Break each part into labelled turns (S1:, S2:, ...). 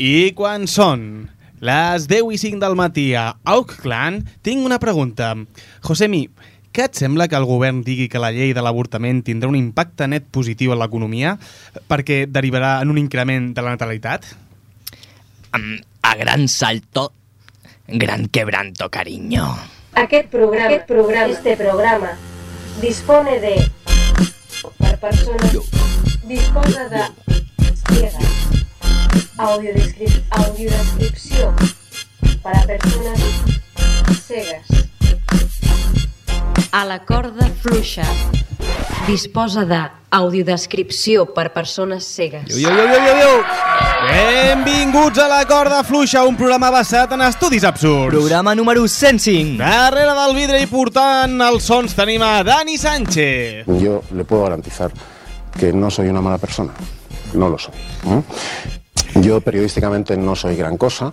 S1: I quan són les 10 i 5 del matí a Auckland, tinc una pregunta. Josemi, què et sembla que el govern digui que la llei de l'avortament tindrà un impacte net positiu en l'economia perquè derivarà en un increment de la natalitat?
S2: Mm, a gran salto, gran quebranto, cariño.
S3: Aquest programa, aquest programa, este programa, dispone de... Per persones... Disposa de... Ciega. Audiodescrip, audiodescripció. Per a persones cegues.
S4: A la corda fluixa. Disposa de audiodescripció per persones cegues.
S1: Iu, iu, iu, iu, Benvinguts a la corda fluixa, un programa basat en estudis absurds.
S2: Programa número 105.
S1: Darrere del vidre i portant els sons tenim a Dani Sánchez.
S5: Yo le puedo garantizar que no soy una mala persona. No lo soy. ¿eh? Yo periodísticamente no soy gran cosa,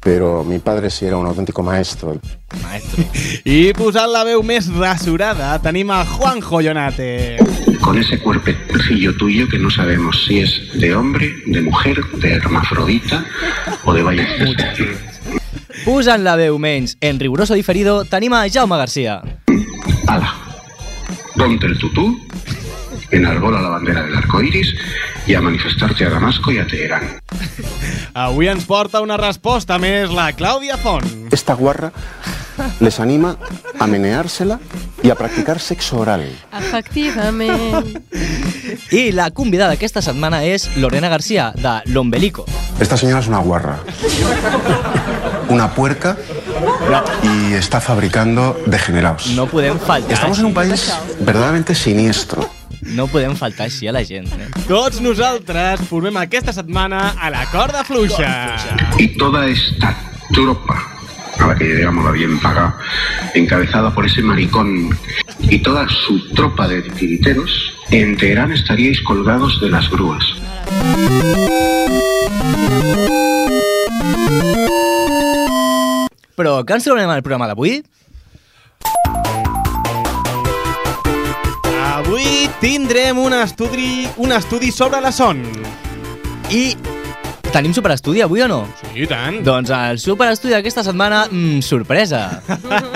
S5: pero mi padre sí era un auténtico maestro.
S2: Maestro.
S1: I posant la veu més rasurada tenim a Juanjo Jonate.
S6: con ese cuerpecillo tuyo que no sabemos si es de hombre, de mujer, de hermafrodita o de Ballesteros.
S2: Posant la veu menys en riguroso diferido, tenim a Jaume Garcia.
S6: Ala, ponte el tutú, enarbola la bandera del arco iris y a manifestarte a Damasco y a Teherán.
S1: Avui ens porta una resposta més la Clàudia Font.
S5: Esta guarra les anima a meneársela y a practicar sexo oral.
S7: Efectivament.
S2: I la convidada aquesta setmana és Lorena Garcia, de L'Ombelico.
S5: Esta señora es una guarra, una puerca y está fabricando degenerados.
S2: No podem faltar
S5: Estamos en un país verdaderamente siniestro.
S2: No podem faltar així a la gent. Eh?
S1: Tots nosaltres formem aquesta setmana a la corda fluixa.
S6: Y toda esta tropa a la que llegamos la bien paga, encabezada por ese maricón y toda su tropa de titiriteros, en Teherán estaríais colgados de las grúas.
S2: Però què ens trobarem al programa d'avui?
S1: Avui tindrem un estudi, un estudi sobre la son.
S2: I tenim superestudi avui o no?
S1: Sí, i tant.
S2: Doncs el superestudi d'aquesta setmana, mmm, sorpresa.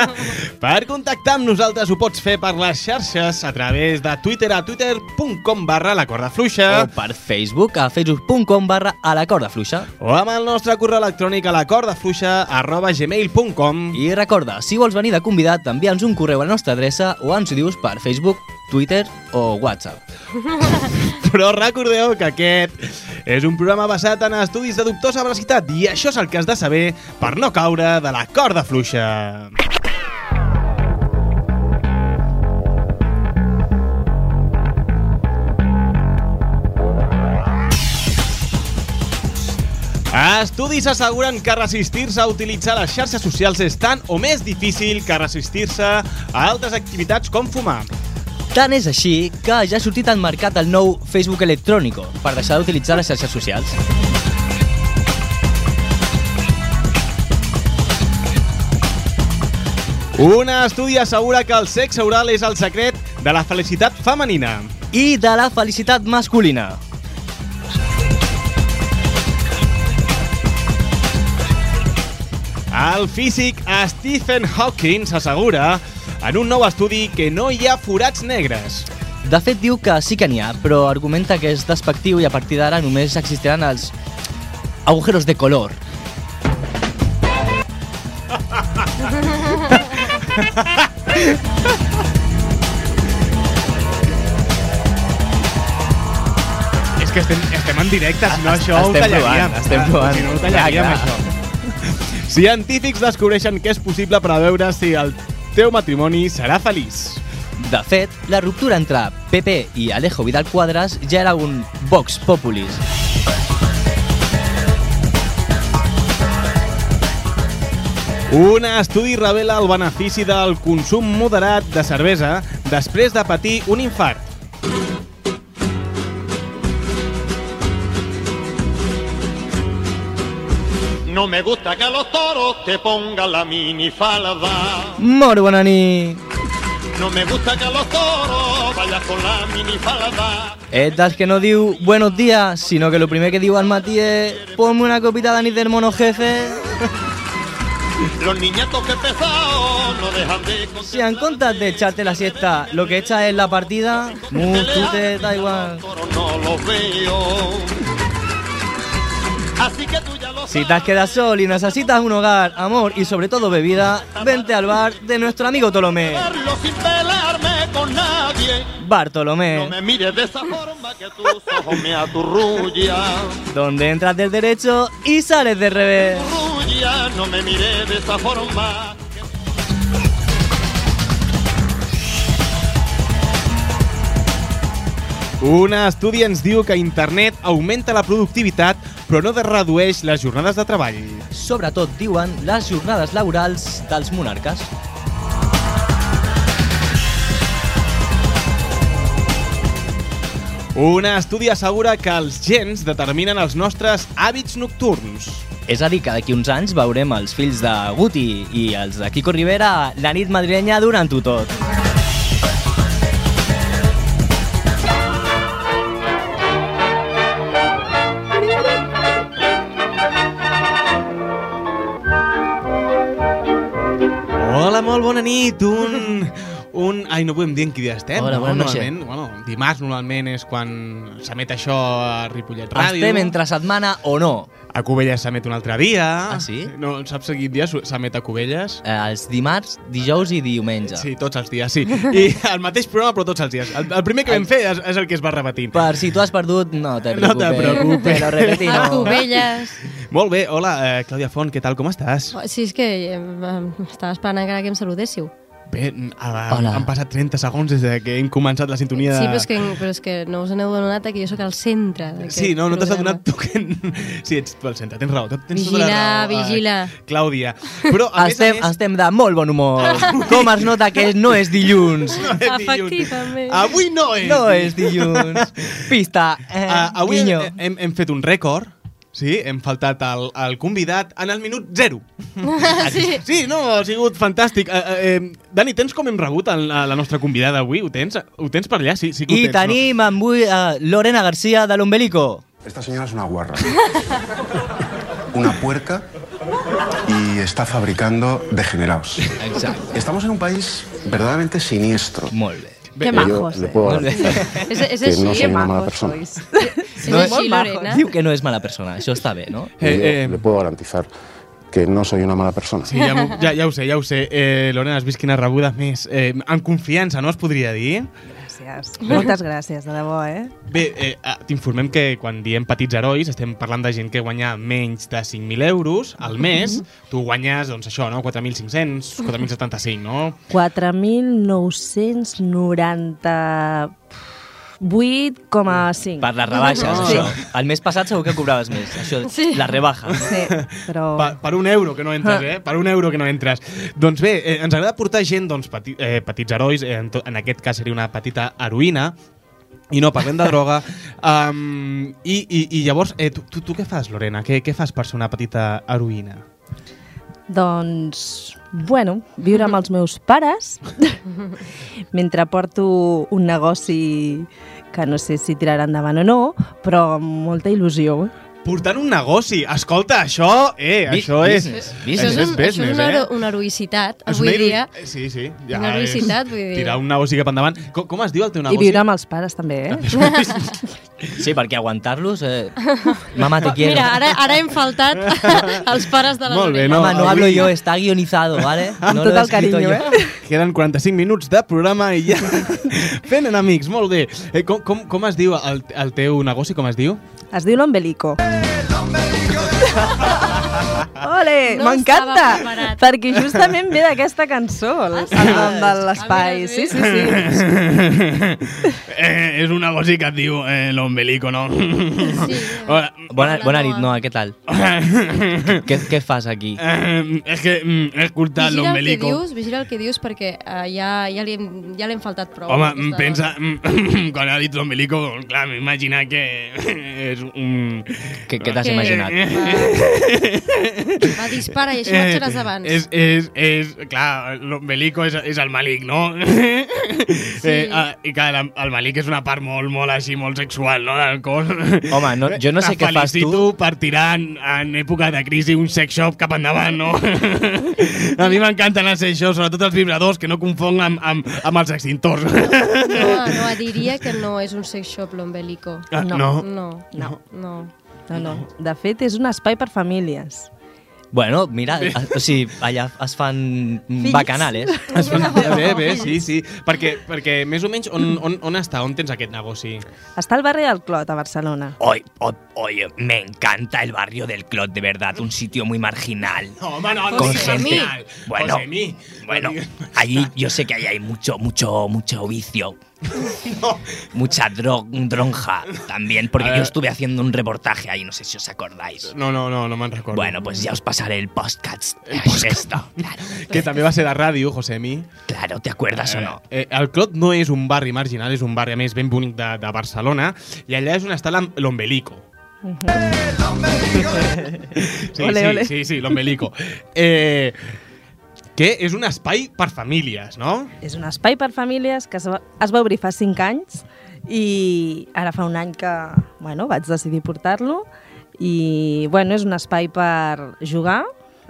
S1: Per contactar amb nosaltres ho pots fer per les xarxes a través de Twitter a twitter.com barra la corda
S2: o
S1: fluixa
S2: per Facebook a facebook.com barra a la corda fluixa.
S1: o amb el nostre correu electrònic a la corda fluixa arroba gmail.com
S2: I recorda, si vols venir de convidat, envia'ns un correu a la nostra adreça o ens ho dius per Facebook, Twitter o WhatsApp.
S1: Però recordeu que aquest és un programa basat en estudis de dubtosa veracitat i això és el que has de saber per no caure de la corda fluixa. Estudis asseguren que resistir-se a utilitzar les xarxes socials és tan o més difícil que resistir-se a altres activitats com fumar.
S2: Tant és així que ja ha sortit al mercat el nou Facebook electrònico per deixar d'utilitzar les xarxes socials.
S1: Un estudi assegura que el sexe oral és el secret de la felicitat femenina.
S2: I de la felicitat masculina.
S1: El físic Stephen Hawking assegura en un nou estudi que no hi ha forats negres.
S2: De fet, diu que sí que n'hi ha, però argumenta que és despectiu i a partir d'ara només existiran els agujeros de color.
S1: És que estem, estem en directe, si no això
S2: estem
S1: ho tallaríem.
S2: provant, estem provant.
S1: Si no ho tallaríem,
S2: Ja,
S1: ja,
S2: clar.
S1: això. Científics descobreixen que és possible preveure si el teu matrimoni serà feliç.
S2: De fet, la ruptura entre PP i Alejo Vidal Quadras ja era un vox populis.
S1: Un estudi revela el benefici del consum moderat de cervesa després de patir un infart.
S8: No me gusta que a los toros te pongan la minifalda.
S2: Molt bona nit!
S8: No me gusta que a los toros vayas con la minifalda.
S2: És dels que no diu buenos días, sinó que lo primer que diu al matí és ponme una copita d'anís del mono jefe.
S8: Los niñatos que pesados no dejan de
S2: Si en comptes de echarte la siesta, lo que echa es la partida, mu, tú te da igual.
S8: toros no los veo. Así que tú ya lo
S2: Si te has quedado sol y necesitas un hogar, amor y sobre todo bebida, vente al bar de nuestro amigo Tolomé.
S8: sabes, sin pelarme con nadie. No
S2: Bartolomé,
S8: me mires de esa forma que tus ojos me aturrullan.
S2: donde entras del derecho y sales del revés.
S8: Tuya, no me miré de esa forma.
S1: Un estudi ens diu que internet augmenta la productivitat, però no redueix les jornades de treball.
S2: Sobretot diuen les jornades laborals dels monarques.
S1: Un estudi assegura que els gens determinen els nostres hàbits nocturns.
S2: És a dir, que d'aquí uns anys veurem els fills de Guti i els de Kiko Rivera la nit madrilenya durant-ho tot.
S1: Hola, molt bona nit! Un... un... Ai, no podem dir en quin dia estem.
S2: Hola,
S1: no?
S2: bona noche.
S1: Normalment, bueno, dimarts normalment és quan s'emet això a Ripollet Ràdio.
S2: Estem entre setmana o no?
S1: A Cubelles s'emet un altre dia.
S2: Ah, sí?
S1: No, saps a quin dia s'ho- s'emet a Cubelles?
S2: Eh, Els dimarts, dijous i diumenge.
S1: Sí, tots els dies, sí. I el mateix programa, però tots els dies. El, el primer que vam fer és, és el que es va repetint.
S2: Per si tu has perdut, no te
S1: No te
S2: preocupes.
S1: preocupes.
S2: Te lo repetimos.
S7: A Cubelles.
S1: Molt bé, hola, eh, Clàudia Font, què tal, com estàs?
S7: Sí, és que eh, em- estava esperant encara que em saludéssiu.
S1: Bé, a,
S2: Hola.
S1: han passat 30 segons des de que hem començat la sintonia de...
S7: Sí, però és, que, però és que no us aneu donat que jo sóc al centre d'aquest
S1: Sí, no, no t'has
S7: programa.
S1: adonat tu que... Sí, ets pel centre, tens raó. Tens tota la
S7: Vigila,
S1: raó, eh,
S7: vigila.
S1: Clàudia. Però, a més a
S2: Estem,
S1: més...
S2: estem de molt bon humor. Com es nota que no és dilluns.
S1: no és dilluns.
S7: Efectivament.
S1: Avui no és.
S2: No és dilluns. Pista, eh,
S1: Ah, avui
S2: guinyo.
S1: hem, hem, hem fet un rècord. Sí, hem faltat al, al convidat en el minut zero.
S7: sí.
S1: Sí, no, ha sigut fantàstic. Eh, eh, eh, Dani, tens com hem rebut el, la nostra convidada avui? Ho tens, ho tens per allà? Sí, sí que ho
S2: I
S1: tens, no?
S2: tenim amb avui a Lorena García de l'Ombelico.
S5: Esta señora es una guarra. Una puerca y está fabricando degenerados.
S2: Exacte.
S5: Estamos en un país verdaderamente siniestro.
S2: Molt bé.
S7: Que eh?
S5: Yo
S7: majos.
S5: le puedo garantizar
S7: És, és
S5: que
S7: així,
S5: no soy una mala
S9: majos
S5: persona.
S9: sois.
S7: és així, Lorena.
S2: Diu que no és mala persona, això està bé, no?
S5: Yo
S1: Eh, eh.
S5: le puedo garantizar que no soy una mala persona.
S1: Sí, ja, m'ho- ja, ja ho sé, ja ho sé. Eh, Lorena, has vist quina rebuda més. Eh, amb confiança, no es podria dir?
S9: Gràcies. Moltes gràcies, de debò, eh?
S1: Bé, eh, ah, t'informem que quan diem petits herois estem parlant de gent que guanya menys de 5.000 euros al mes. Tu guanyes, doncs això, no? 4.500, 4.075, no?
S9: 4.998,5
S2: Per les rebaixes,
S1: Sí.
S2: això. El mes passat segur que cobraves més. Això,
S7: Sí.
S2: la rebaja.
S9: Sí, Eh, però...
S1: Per, per un euro que no
S7: Ah.
S1: entres, eh? Per un euro que no entres. Doncs bé, eh, ens agrada portar gent, doncs, peti, eh, petits herois, eh, en, to, en aquest cas seria una petita heroïna, i no, parlem de droga. Um, i, i, I llavors, eh, tu, tu, tu què fas, Lorena? Què, què fas per ser una petita heroïna?
S9: Doncs, bueno, viure amb els meus pares mentre porto un negoci que no sé si tirarà endavant o no, però amb molta il·lusió.
S1: Portant un negoci. Escolta, això, eh,
S2: Bi-
S1: això és...
S2: business,
S7: Això
S2: business.
S7: és, un, això és
S1: business,
S7: una,
S1: eh?
S7: hero- una heroïcitat,
S1: És
S7: avui
S1: una
S7: dia.
S1: heroï- Sí, sí.
S7: una
S1: és
S7: heroïcitat, vull dir.
S1: Tirar un negoci cap endavant. Com, com es diu el teu
S9: I
S1: negoci?
S9: viure amb els pares també, eh?
S2: Sí, perquè aguantar-los... Eh... Mama, te quiero.
S7: Mira, ara, ara hem faltat els pares de la
S1: Molt bé,
S7: Lorena.
S1: no?
S2: Mama, no
S1: avui-
S2: hablo yo, está guionizado, ¿vale?
S9: Amb
S2: no
S9: tot
S2: lo he
S9: el
S2: escrito yo.
S9: carinyo, eh?
S1: Queden 45 minuts de programa i ja fent enemics, molt bé. Eh, com, com, com es diu el, el teu negoci, com es diu?
S9: Es diu l'ombelico. Ole,
S7: No estava
S9: m'encanta!
S7: preparat.
S9: Perquè justament ve d'aquesta cançó, el, el nom de
S7: Ah,
S9: l'espai.
S7: mira,
S9: Sí, sí, sí.
S1: eh, és un negoci que et diu eh, l'ombelico, no?
S7: Sí.
S1: Hola.
S2: Bona,
S7: Hola,
S2: bona nit,
S7: Noa.
S2: Noa, què tal? què, què fas aquí?
S1: Eh, és que mm, he
S7: Vigila
S1: escoltat
S7: el que
S1: l'ombelico.
S7: dius, vigila el que dius perquè eh, ja, ja li hem- ja l'hem faltat prou.
S1: Home,
S7: aquesta-
S1: pensa, quan ha dit l'ombelico, clar, m'he imaginat que és un...
S10: Eh.
S2: Què, què t'has
S7: Que-
S2: imaginat?
S7: Va. Va, dispara i així marxaràs abans.
S1: Eh, és, és, és, clar, l'ombelico és, és el malic, no? Sí. Eh, ah, I clar, el, el malic és una part molt, molt així, molt sexual, no?, del cos.
S2: Home, no, jo no sé
S1: Et
S2: què fas tu.
S1: felicito per tirar en, en època de crisi un sex shop cap endavant, no? A mi m'encanten els sex shops, sobretot els vibradors, que no confong amb, amb, amb els extintors.
S7: No, no, diria que no és un sex shop l'ombelico.
S1: Ah, no.
S7: No,
S9: No.
S7: no.
S9: No, no. De fet, és un espai per famílies.
S2: Bueno, mira, a- o sigui, allà es fan
S7: Fills.
S2: bacanales.
S1: Es fan... Bé, bé, sí, sí. Perquè, perquè més o menys on, on, on està, on tens aquest negoci?
S9: Està al barri del Clot, a Barcelona.
S2: Oye, oye, me encanta el barrio del Clot, de verdad, un sitio muy marginal.
S1: No, home, no, no
S2: Con
S1: diguis al
S2: gente.
S1: final.
S2: Bueno,
S1: Josemi,
S2: Bueno,
S1: no diguis-
S2: allí yo sé que ahí hay mucho, mucho, mucho vicio. Mucha dro- dronja también, porque
S1: A
S2: yo
S1: ver.
S2: estuve haciendo un reportaje ahí, no sé si os acordáis.
S1: No, no, no, no me'n recordo.
S2: Bueno, pues ya os pasaré el podcast. Es esto, claro,
S1: Que també va ser de ràdio, Josemi.
S2: claro, ¿te acuerdas o no?
S1: Eh, el Clot no és un barri marginal, és un barri, a més, ben bonic de, de Barcelona, i allà és on està l'am- l'Ombelico. Sí,
S9: Ole,
S1: sí,
S9: ole.
S1: sí, sí, l'Ombelico. Eh, que és un espai per famílies, no?
S9: És un espai per famílies que es va, es va obrir fa 5 anys i ara fa un any que bueno, vaig decidir portar-lo i bueno, és un espai per jugar,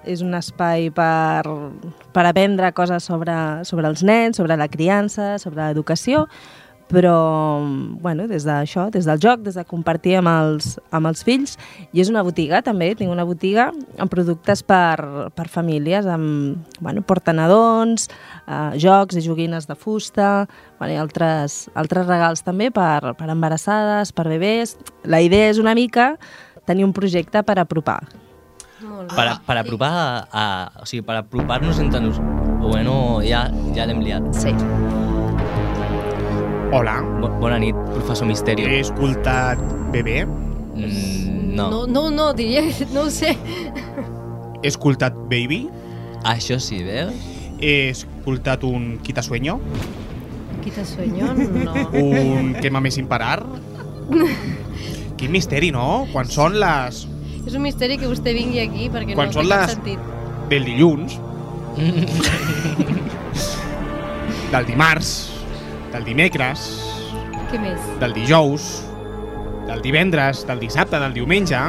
S9: és un espai per, per aprendre coses sobre, sobre els nens, sobre la criança, sobre l'educació, però bueno, des d'això, des del joc, des de compartir amb els, amb els fills. I és una botiga també, tinc una botiga amb productes per, per famílies, amb bueno, portanadons, eh, jocs i joguines de fusta, bueno, i altres, altres regals també per, per embarassades, per bebès. La idea és una mica tenir un projecte per apropar.
S7: Molt bé.
S2: Para, para apropar a, a- O sigui, para aproparnos entre nosaltres. Bueno, ja, ja l'hem liat.
S7: Sí.
S1: Hola,
S2: Bo- Bona nit, professor Misterio.
S1: he escoltat bebè,
S2: Mm,
S7: No,
S2: no.
S7: no, no, diria que no ho sé.
S1: he escoltat baby,
S2: Això sí, veus?
S1: he escoltat un quitasueño,
S7: Quita sueño, no.
S1: un quémame sin parar... Quin misteri, no? Quan són les
S7: És un misteri que vostè vingui aquí perquè
S1: Quan
S7: no
S1: són
S7: té cap
S1: les-
S7: sentit.
S1: del dilluns, del dimarts, del dimecres,
S7: Què més?
S1: del dijous, del divendres, del dissabte, del diumenge.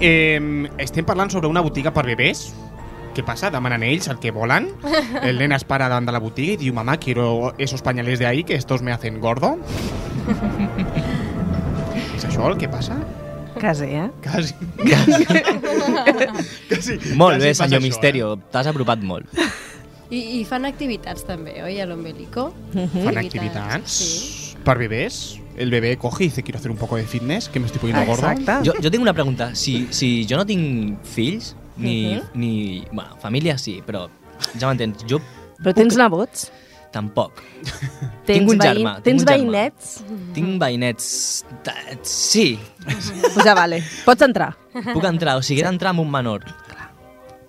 S1: Eh, estem parlant sobre una botiga per bebès. Què passa? Demanen ells el que volen. El nen es para davant de la botiga i diu «Mamá, quiero esos pañales de ahí que estos me hacen gordo». És això el que passa?
S9: Quasi, eh?
S1: Quasi. Quasi. quasi
S2: Molt
S1: quasi
S2: bé,
S1: passa
S2: senyor
S1: això, eh?
S2: Misterio, t'has apropat molt.
S7: I, I fan activitats també, oi, a l'ombelico?
S1: Fan activitats
S7: Sí.
S1: per bebés. El bebé coge y dice, quiero hacer un poco de fitness, que me estoy poniendo gordo.
S9: Exacte.
S2: Jo, jo tinc una pregunta. Si, si jo no tinc fills, ni...
S7: Mhm.
S2: ni bueno, família sí, però ja m'entens. Jo
S9: Però tens nebots?
S2: tampoc.
S9: Tens
S2: Tinc un
S9: veí-
S2: germà, tinc
S9: Tens
S2: un germà.
S9: veïnets?
S2: Tinc veïnets... ta- Sí,
S9: Pues Doncs ja vale. Pots entrar.
S2: puc entrar. O sigui, he d'entrar amb un menor.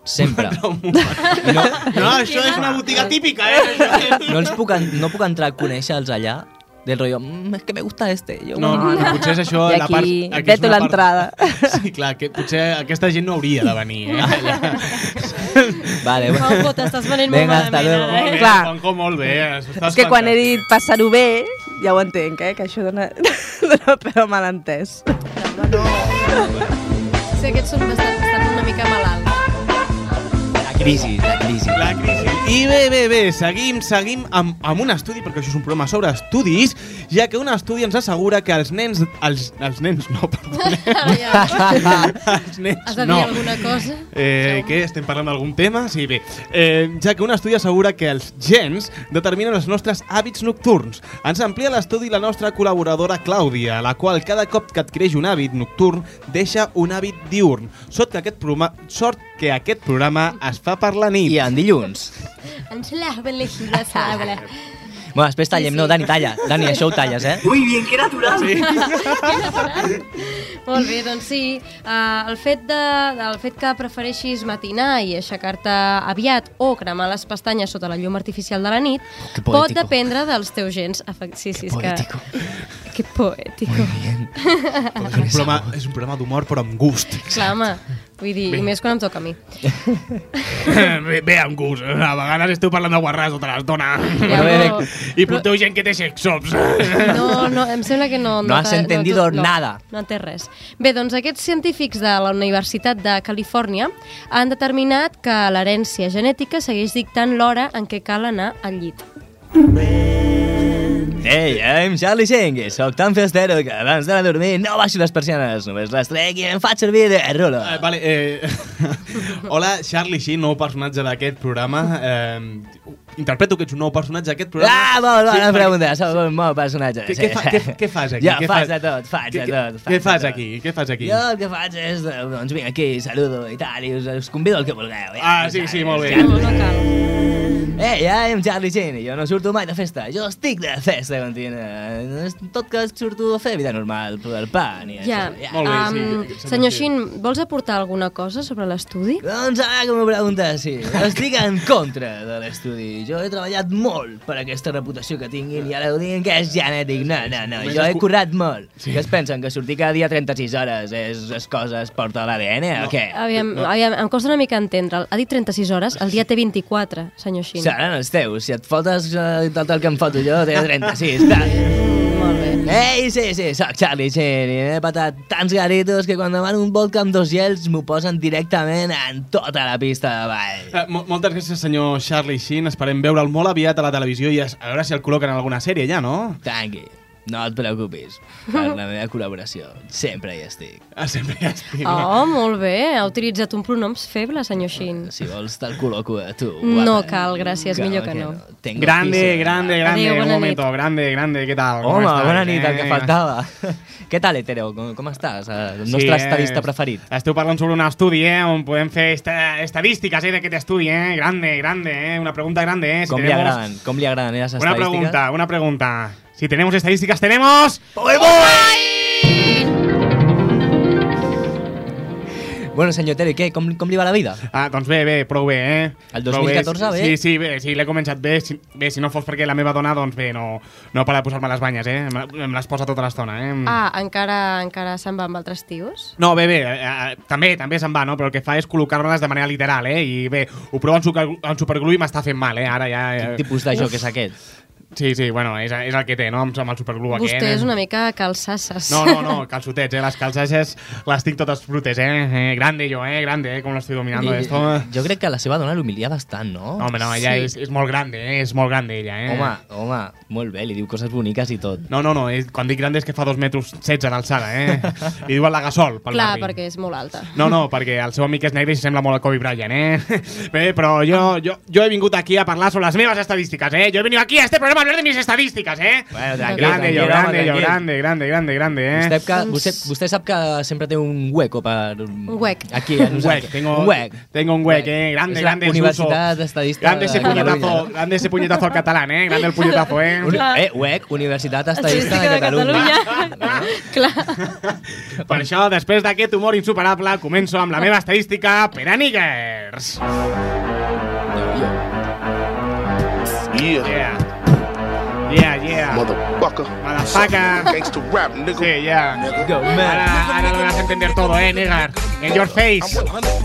S2: Sempre. No,
S1: No, això és una botiga típica, eh?
S2: no, els puc, en- no puc entrar a conèixer-los allà del rotllo, mm, es que me gusta este. Jo, "Mm".
S1: No, no, no, potser és això
S9: I
S1: la
S9: aquí
S1: part... aquí és
S9: veto
S1: una
S9: l'entrada.
S1: Sí, clar, que potser aquesta gent no hauria de venir, eh? Allà.
S2: Vale,
S7: Pau,
S2: bueno.
S7: Pau, t'estàs venent
S2: Vinga,
S7: molt
S2: hasta
S7: malament,
S2: luego.
S7: ara, eh?
S9: Clar.
S1: Juanjo, molt bé. eh,
S9: És que quan he dit passar-ho bé, ja ho entenc, eh? Que això dona, dona peu a malentès.
S7: Sí, aquests són bastant, estan una mica malalts.
S2: La crisi, la crisi.
S1: La crisi. I bé, bé, bé, seguim, seguim amb, amb un estudi, perquè això és un programa sobre estudis, ja que un estudi ens assegura que els nens... Els, els nens, no, perdoneu.
S7: Ara ja.
S1: els nens,
S7: Has de dir
S1: no.
S7: alguna cosa?
S1: Eh, què? Estem parlant d'algun tema? Sí, bé. Eh, ja que un estudi assegura que els gens determinen els nostres hàbits nocturns. Ens amplia l'estudi la nostra col·laboradora Clàudia, la qual cada cop que adquireix un hàbit nocturn deixa un hàbit diurn. Sort que aquest programa, sort que aquest programa es fa per la nit.
S2: I en dilluns.
S7: Ens la ben lejida sabra.
S2: Bueno, després tallem. No, Dani, talla. Dani, això ho talles, eh?
S7: Molt bé, doncs sí,
S10: eh,
S7: uh, el, fet de, el fet que prefereixis matinar i aixecar-te aviat o cremar les pestanyes sota la llum artificial de la nit
S2: Que poético.
S7: pot dependre dels teus gens. Efec- Sí, sí, és
S2: Poético.
S7: Que, que poético.
S1: És un programa, és un programa d'humor, però amb gust.
S7: Clar, home,
S10: Vull dir, i més quan em toca a mi.
S11: bé, bé, amb gust. A vegades esteu parlant de guarràs tota l'estona.
S10: Ja, però-
S11: I porteu gent que té sexops.
S10: No, no, em sembla que no...
S2: No has
S10: t'ha-
S2: entendido
S10: tu- no,
S2: nada.
S10: No, té res. Bé, doncs aquests científics de la Universitat de Califòrnia han determinat que l'herència genètica segueix dictant l'hora en què cal anar al llit.
S2: Hey, I'm Charlie Sheng, sóc tan festero que abans d'anar a dormir no baixo les persianes, només les trec i em faig servir de rolo.
S11: Eh, vale, eh, hola, Charlie Sheen, nou personatge d'aquest programa. Eh, interpreto que ets un nou personatge d'aquest programa.
S2: Ah, molt bona
S11: perquè-
S2: pregunta, sóc un bon personatge.
S11: Què,
S2: sí.
S11: què, fa, què, què fas aquí?
S2: Jo
S11: què
S2: faig de tot, faig de
S11: Què-
S2: tot.
S11: Què
S2: de
S11: fas
S2: tot.
S11: aquí? Què fas aquí?
S2: Jo el que faig és, eh, doncs vinc aquí, saludo i tal, i us, us convido el que vulgueu.
S11: Ah,
S2: ho
S11: sí,
S2: saps,
S11: sí, molt bé.
S2: ja.
S10: No, no cal.
S2: Ei, I'm Charlie Sheen, i jo no surto mai de festa, jo estic de festa continua. És Tot que surto a fer vida normal, el pan i això.
S10: Ja.
S2: ja.
S11: Molt bé, sí,
S10: Em,
S11: sembla
S10: senyor
S11: que-
S10: Xin, vols aportar alguna cosa sobre l'estudi?
S2: Doncs ara que m'ho preguntes, sí. Estic en contra de l'estudi. Jo he treballat molt per aquesta reputació que tinguin i ara ho diguin que és genètic. No, no, no. Jo he currat molt. Sí. Que es pensen? Que sortir cada dia 36 hores és, és cosa, es porta a l'ADN o què?
S10: Aviam, aviam, em costa una mica entendre'l. Ha dit 36 hores, el dia té 24, senyor Xin.
S2: Seran els teus. Si et fotes eh, tot el que em foto jo, té 36. Tal.
S10: Molt bé.
S2: Ei, sí, sí, sóc Charlie Sheen i he patat tants garitos que quan demano un vodka amb dos gels m'ho posen directament en tota la pista de ball.
S11: Eh, mo- moltes gràcies, senyor Charlie Sheen. Esperem veure'l molt aviat a la televisió i es- a veure si el col·loquen en alguna sèrie ja, no?
S2: Tranqui, no et preocupis. Per la meva col·laboració sempre hi estic.
S11: Ah, sempre ja estic.
S10: Oh, molt bé. Ha utilitzat un pronom feble, senyor Xin.
S2: Si vols, te'l col·loco a tu.
S10: No
S2: guapa.
S10: cal, gràcies, millor que no.
S2: Tengo
S11: Grande,
S2: piso.
S11: grande,
S10: Adéu,
S11: grande,
S10: bona
S11: un
S10: nit.
S11: momento, grande, grande, què tal? Com
S2: Home,
S11: estàs,
S2: bona nit, el
S11: eh?
S2: que faltava. Què tal, Etero? Com, com estàs? El nostre
S11: eh,
S2: estadista preferit.
S11: Esteu parlant sobre un estudi, eh, on podem fer esta estadístiques, eh, d'aquest estudi, eh? Grande, grande, eh? Una pregunta grande, eh? Si
S2: Com li
S11: tenemos-
S2: agraden? Com li agraden les
S11: Una
S2: estadístiques?
S11: pregunta, una pregunta. Si tenemos estadísticas, tenemos...
S2: Bueno, senyor Etero, i què? Com, com li va la vida?
S11: Ah, doncs bé, bé, prou bé, eh?
S2: El
S11: Prou bé.
S2: 2014 bé?
S11: Sí, sí, bé, sí, l'he començat bé. Si, bé, si no fos perquè la meva dona, doncs bé, no, no para de posar-me les banyes, eh? Me, me les posa tota l'estona, eh?
S10: Ah, encara encara se'n va amb altres tios?
S11: No, bé, bé, eh, eh, també, també se'n va, no? Però el que fa és col·locar-me-les de manera literal, eh? I bé, ho provo en, suca- en superglue i m'està fent mal, eh? Ara ja...
S2: Quin
S11: Eh,
S2: tipus de joc és aquest?
S11: sí, sí, bueno, és, és el que té, no? Amb, amb el superglue aquest.
S10: Vostè
S11: eh?
S10: és una mica calçasses.
S11: No, no, no, calçotets, eh? Les calçages les tinc totes brutes, eh? eh grande jo, eh? Grande, eh? Com l'estic dominando, esto.
S2: Jo crec que la seva dona l'humilia bastant, no?
S11: Home, no, ella és, és molt grande, eh? És molt grande, ella, eh?
S2: Home, home, molt bé, li diu coses boniques i tot.
S11: No, no, no, és, quan dic grande és que fa dos metres 16 d'alçada, eh? Li diuen la gasol pel
S10: Clar,
S11: barri.
S10: perquè és molt alta.
S11: No, no, perquè el seu amic és negre i sembla molt a Kobe Bryant, eh? Bé, però jo, jo, jo he vingut aquí a parlar sobre les meves estadístiques, eh? Jo he venido aquí a este programa a hablar de mis estadístiques, eh?
S2: Bueno,
S10: tranquil,
S11: grande, jo,
S2: tranquil, home,
S11: grande, jo,
S2: tranquil.
S11: grande, grande, grande, grande, eh?
S2: Vostè, que,
S10: Doncs-
S2: vostè, vostè sap que sempre té un hueco per... Un
S10: huec.
S2: Aquí, a
S11: Un
S2: nosaltres.
S11: huec, tengo
S2: Un huec.
S11: Tengo un huec, eh? Grande,
S2: És la
S11: grande,
S2: Universitat
S11: Suso.
S2: Estadista
S11: Grande ese
S2: de
S11: puñetazo,
S2: Catalunya.
S11: grande ese puñetazo al catalán, eh? Grande el puñetazo, eh?
S2: Un, eh, UEC, Universitat Estadista de Catalunya.
S10: Clar.
S11: Per això, després d'aquest humor insuperable, començo amb la meva estadística per a niggers. Yeah. Yeah, yeah.
S5: Motherfucker.
S11: Motherfucker.
S5: Gangsta rap, nigga.
S11: Sí, yeah.
S2: Go, man.
S11: Ahora, ahora lo vas a entender todo, eh, nigger. En your face.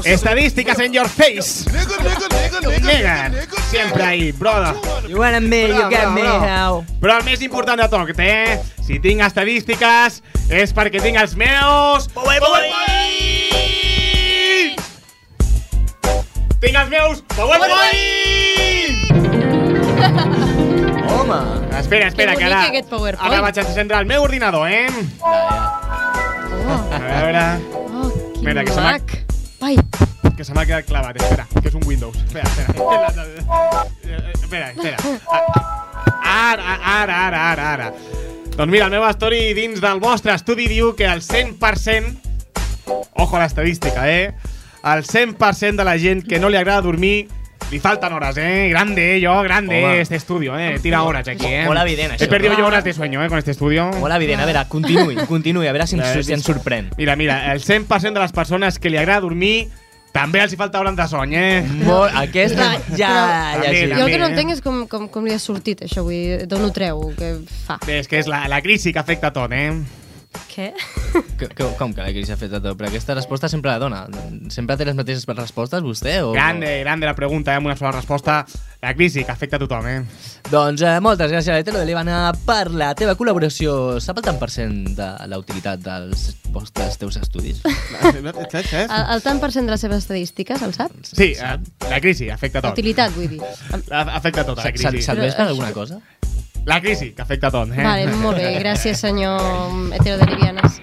S11: Estadísticas en your face.
S5: Nigga, nigga, nigga,
S11: Nigger. Siempre ahí, brother.
S2: You want me, you
S11: Bravo,
S2: got me
S11: bravo.
S2: now.
S11: Però el més important de tot, eh? Si tinc estadístiques, és perquè tinc els meus... Boi, boi! Tinc els meus... Boi, boi!
S2: Home.
S11: Espera, espera,
S10: Que
S11: que
S10: bonic
S11: ara...
S10: aquest PowerPoint.
S11: Ara vaig a encendre el meu ordinador, eh? A veure...
S10: Oh, quin
S11: Mira, que se m'ha-
S10: mac. Ai,
S11: Que se m'ha quedat clavat, espera, que és un Windows. Espera, espera. Eh, Espera, espera. Ah, Ara, ara, ara, ara, ara. Doncs mira, el meu story dins del vostre estudi diu que el 100%, ojo a l'estadística, eh? El 100% de la gent que no li agrada dormir li faltan horas, eh? Grande, eh, yo, grande,
S2: Home.
S11: este estudio, eh? Tira horas aquí, eh?
S2: Molt evident, això.
S11: He perdido yo horas de sueño, eh, con este estudio.
S2: Molt evident, a veure, continuï, continuï, a veure si ens,
S11: A veure,
S2: si ens sorprèn.
S11: Mira, mira, el 100% de les persones que li agrada dormir també els hi falta hores de sony, eh?
S2: Molt, aquesta ja... ja
S11: També,
S2: sí.
S10: jo el que no
S11: eh?
S10: entenc és com, com, com li ha sortit això, vull dir, d'on ho treu, què fa.
S11: Bé, és que és la, la crisi que afecta tot, eh? Què?
S2: Que, que, com que la Cris ha fet de tot? Però aquesta resposta sempre la dona. Sempre té les mateixes respostes, vostè? O...
S1: Grande, grande la pregunta, eh, amb una sola resposta. La crisi que afecta a tothom, eh?
S2: Doncs eh, moltes gràcies, Aretelo de Líbana, per la teva col·laboració. Sap el tant per cent de la utilitat dels vostres teus estudis?
S1: Tota Ah,
S10: Ah.
S11: El, el tant per cent de les seves estadístiques, el saps?
S1: Sí, eh, la crisi afecta a tot.
S11: Utilitat, vull dir.
S1: La- Afecta a tot, la
S2: Se- se-
S1: crisi.
S2: Serveix per alguna cosa?
S1: La crisi, que afecta a tot, eh?
S11: Vale, molt bé, gràcies, senyor hetero de lesbianes.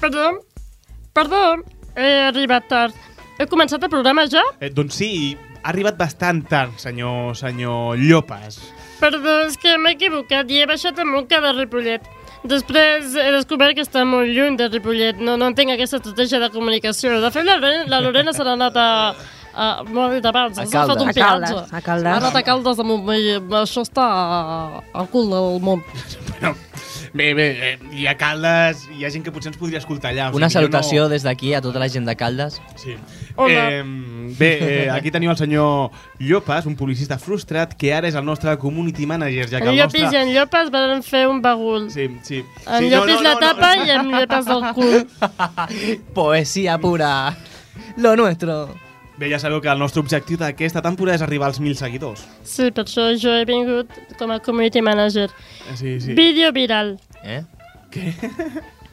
S10: Perdó, perdó, he arribat tard. He començat el programa ja?
S1: Eh, doncs sí, ha arribat bastant tard, senyor, senyor Llopas.
S10: Perdó, és que m'he equivocat i he baixat a Montca de Ripollet. Després he descobert que està molt lluny de Ripollet. No, no entenc aquesta estratègia de comunicació. De fet, la, Lore- la Lorena se n'ha anat a... a m'ho ha dit abans,
S2: A
S10: s'ha fet un
S2: Caldes.
S9: A Caldes,
S10: peatge.
S9: a Caldes.
S10: Ha anat a Caldes de Montmell. Això està a- al cul del món.
S1: Però, bé, bé, eh, hi ha Caldes, hi ha gent que potser ens podria escoltar allà. O
S2: Una
S1: sigui, jo
S2: salutació
S1: No...
S2: des d'aquí a tota la gent de Caldes.
S1: Sí.
S10: Hola.
S1: Eh, bé, eh, aquí teniu el senyor Llopas, un publicista frustrat, que ara és el nostre community manager, ja que
S10: En
S1: el
S10: Llopis i
S1: nostre...
S10: en Llopas van fer un bagul.
S1: Sí, sí.
S10: En
S1: sí,
S10: Llopis la tapa i en Llopas el cul.
S2: Poesia pura. Lo nuestro.
S1: Bé, ja sabeu que el nostre objectiu d'aquesta temporada és arribar als 1.000 seguidors.
S10: Sí, per això jo he vingut com a community manager.
S1: Eh, Sí, sí.
S10: Vídeo viral.
S2: Eh?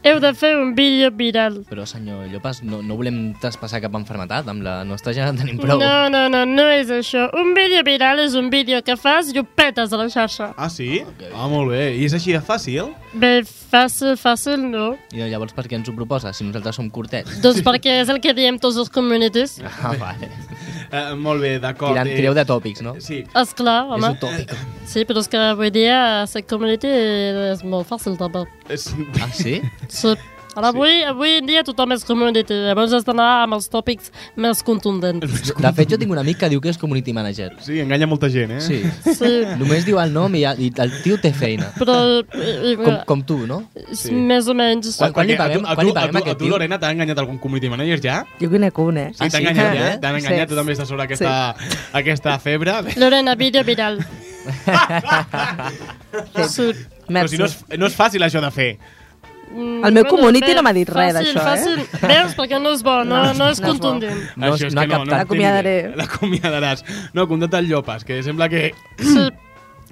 S10: Heu de fer un vídeo viral.
S2: Però, senyor Llopas, no, no volem traspassar cap enfermetat. Amb la nostra ja en tenim prou.
S10: No, no, no, no és això. Un vídeo viral és un vídeo que fas i ho petes a la xarxa.
S1: Ah, sí? Ah, molt bé. I és així de fàcil?
S10: Bé, fàcil, fàcil, Ben, no.
S2: I llavors per què ens ho proposa, si nosaltres som curtets?
S10: Doncs perquè és el que diem tots els communities.
S2: Ah, vale.
S1: Eh, molt bé, d'acord.
S2: Tirant,
S1: eh,
S2: tireu de tòpics, no?
S1: Sí.
S10: Esclar,
S2: És
S10: home.
S2: utòpic.
S10: Sí, però és que avui dia ser community és molt fàcil, també.
S1: És...
S2: Ah, sí?
S10: Sí. Ara, avui, avui en dia tothom és community, llavors has d'anar amb els tòpics més contundents.
S2: De fet, jo tinc un amic que diu que és community manager.
S1: Sí, enganya molta gent, eh?
S2: Sí.
S10: Sí,
S2: Només diu el nom i, i el tio té feina.
S10: però... eh, eh,
S2: Com, com tu, no?
S1: Sí.
S10: Més o menys.
S2: Quan- quan li
S1: Perquè
S2: paguem-
S1: a tu,
S2: quan li
S1: a
S2: paguem
S1: tu, a
S2: aquest
S1: tu,
S2: tio?
S1: Lorena, t'ha enganyat algun community manager ja?
S9: Jo conec un, eh?
S1: Sí,
S2: Ah,
S1: t'ha
S2: sí?
S1: enganyat, ja?
S2: Sí.
S1: T'han enganyat,
S9: Sí.
S1: tu també estàs sobre aquesta, aquesta febre.
S10: Lorena, vídeo viral. sí.
S1: Però si no és, no és fàcil això de fer.
S10: Mm,
S9: El meu
S10: bueno,
S9: community
S10: bé,
S9: no m'ha dit res
S10: fàcil,
S9: d'això, eh?
S10: Fàcil, Veus, perquè no és bo, no, no, és
S9: no és bo.
S10: contundent.
S2: No,
S1: això és
S2: no ha
S1: que no, no en
S2: captat.
S1: té ni
S9: L'acomiadaré.
S1: idea. L'acomiadaràs. No, contacta el Llopas, que sembla que,
S10: Sí,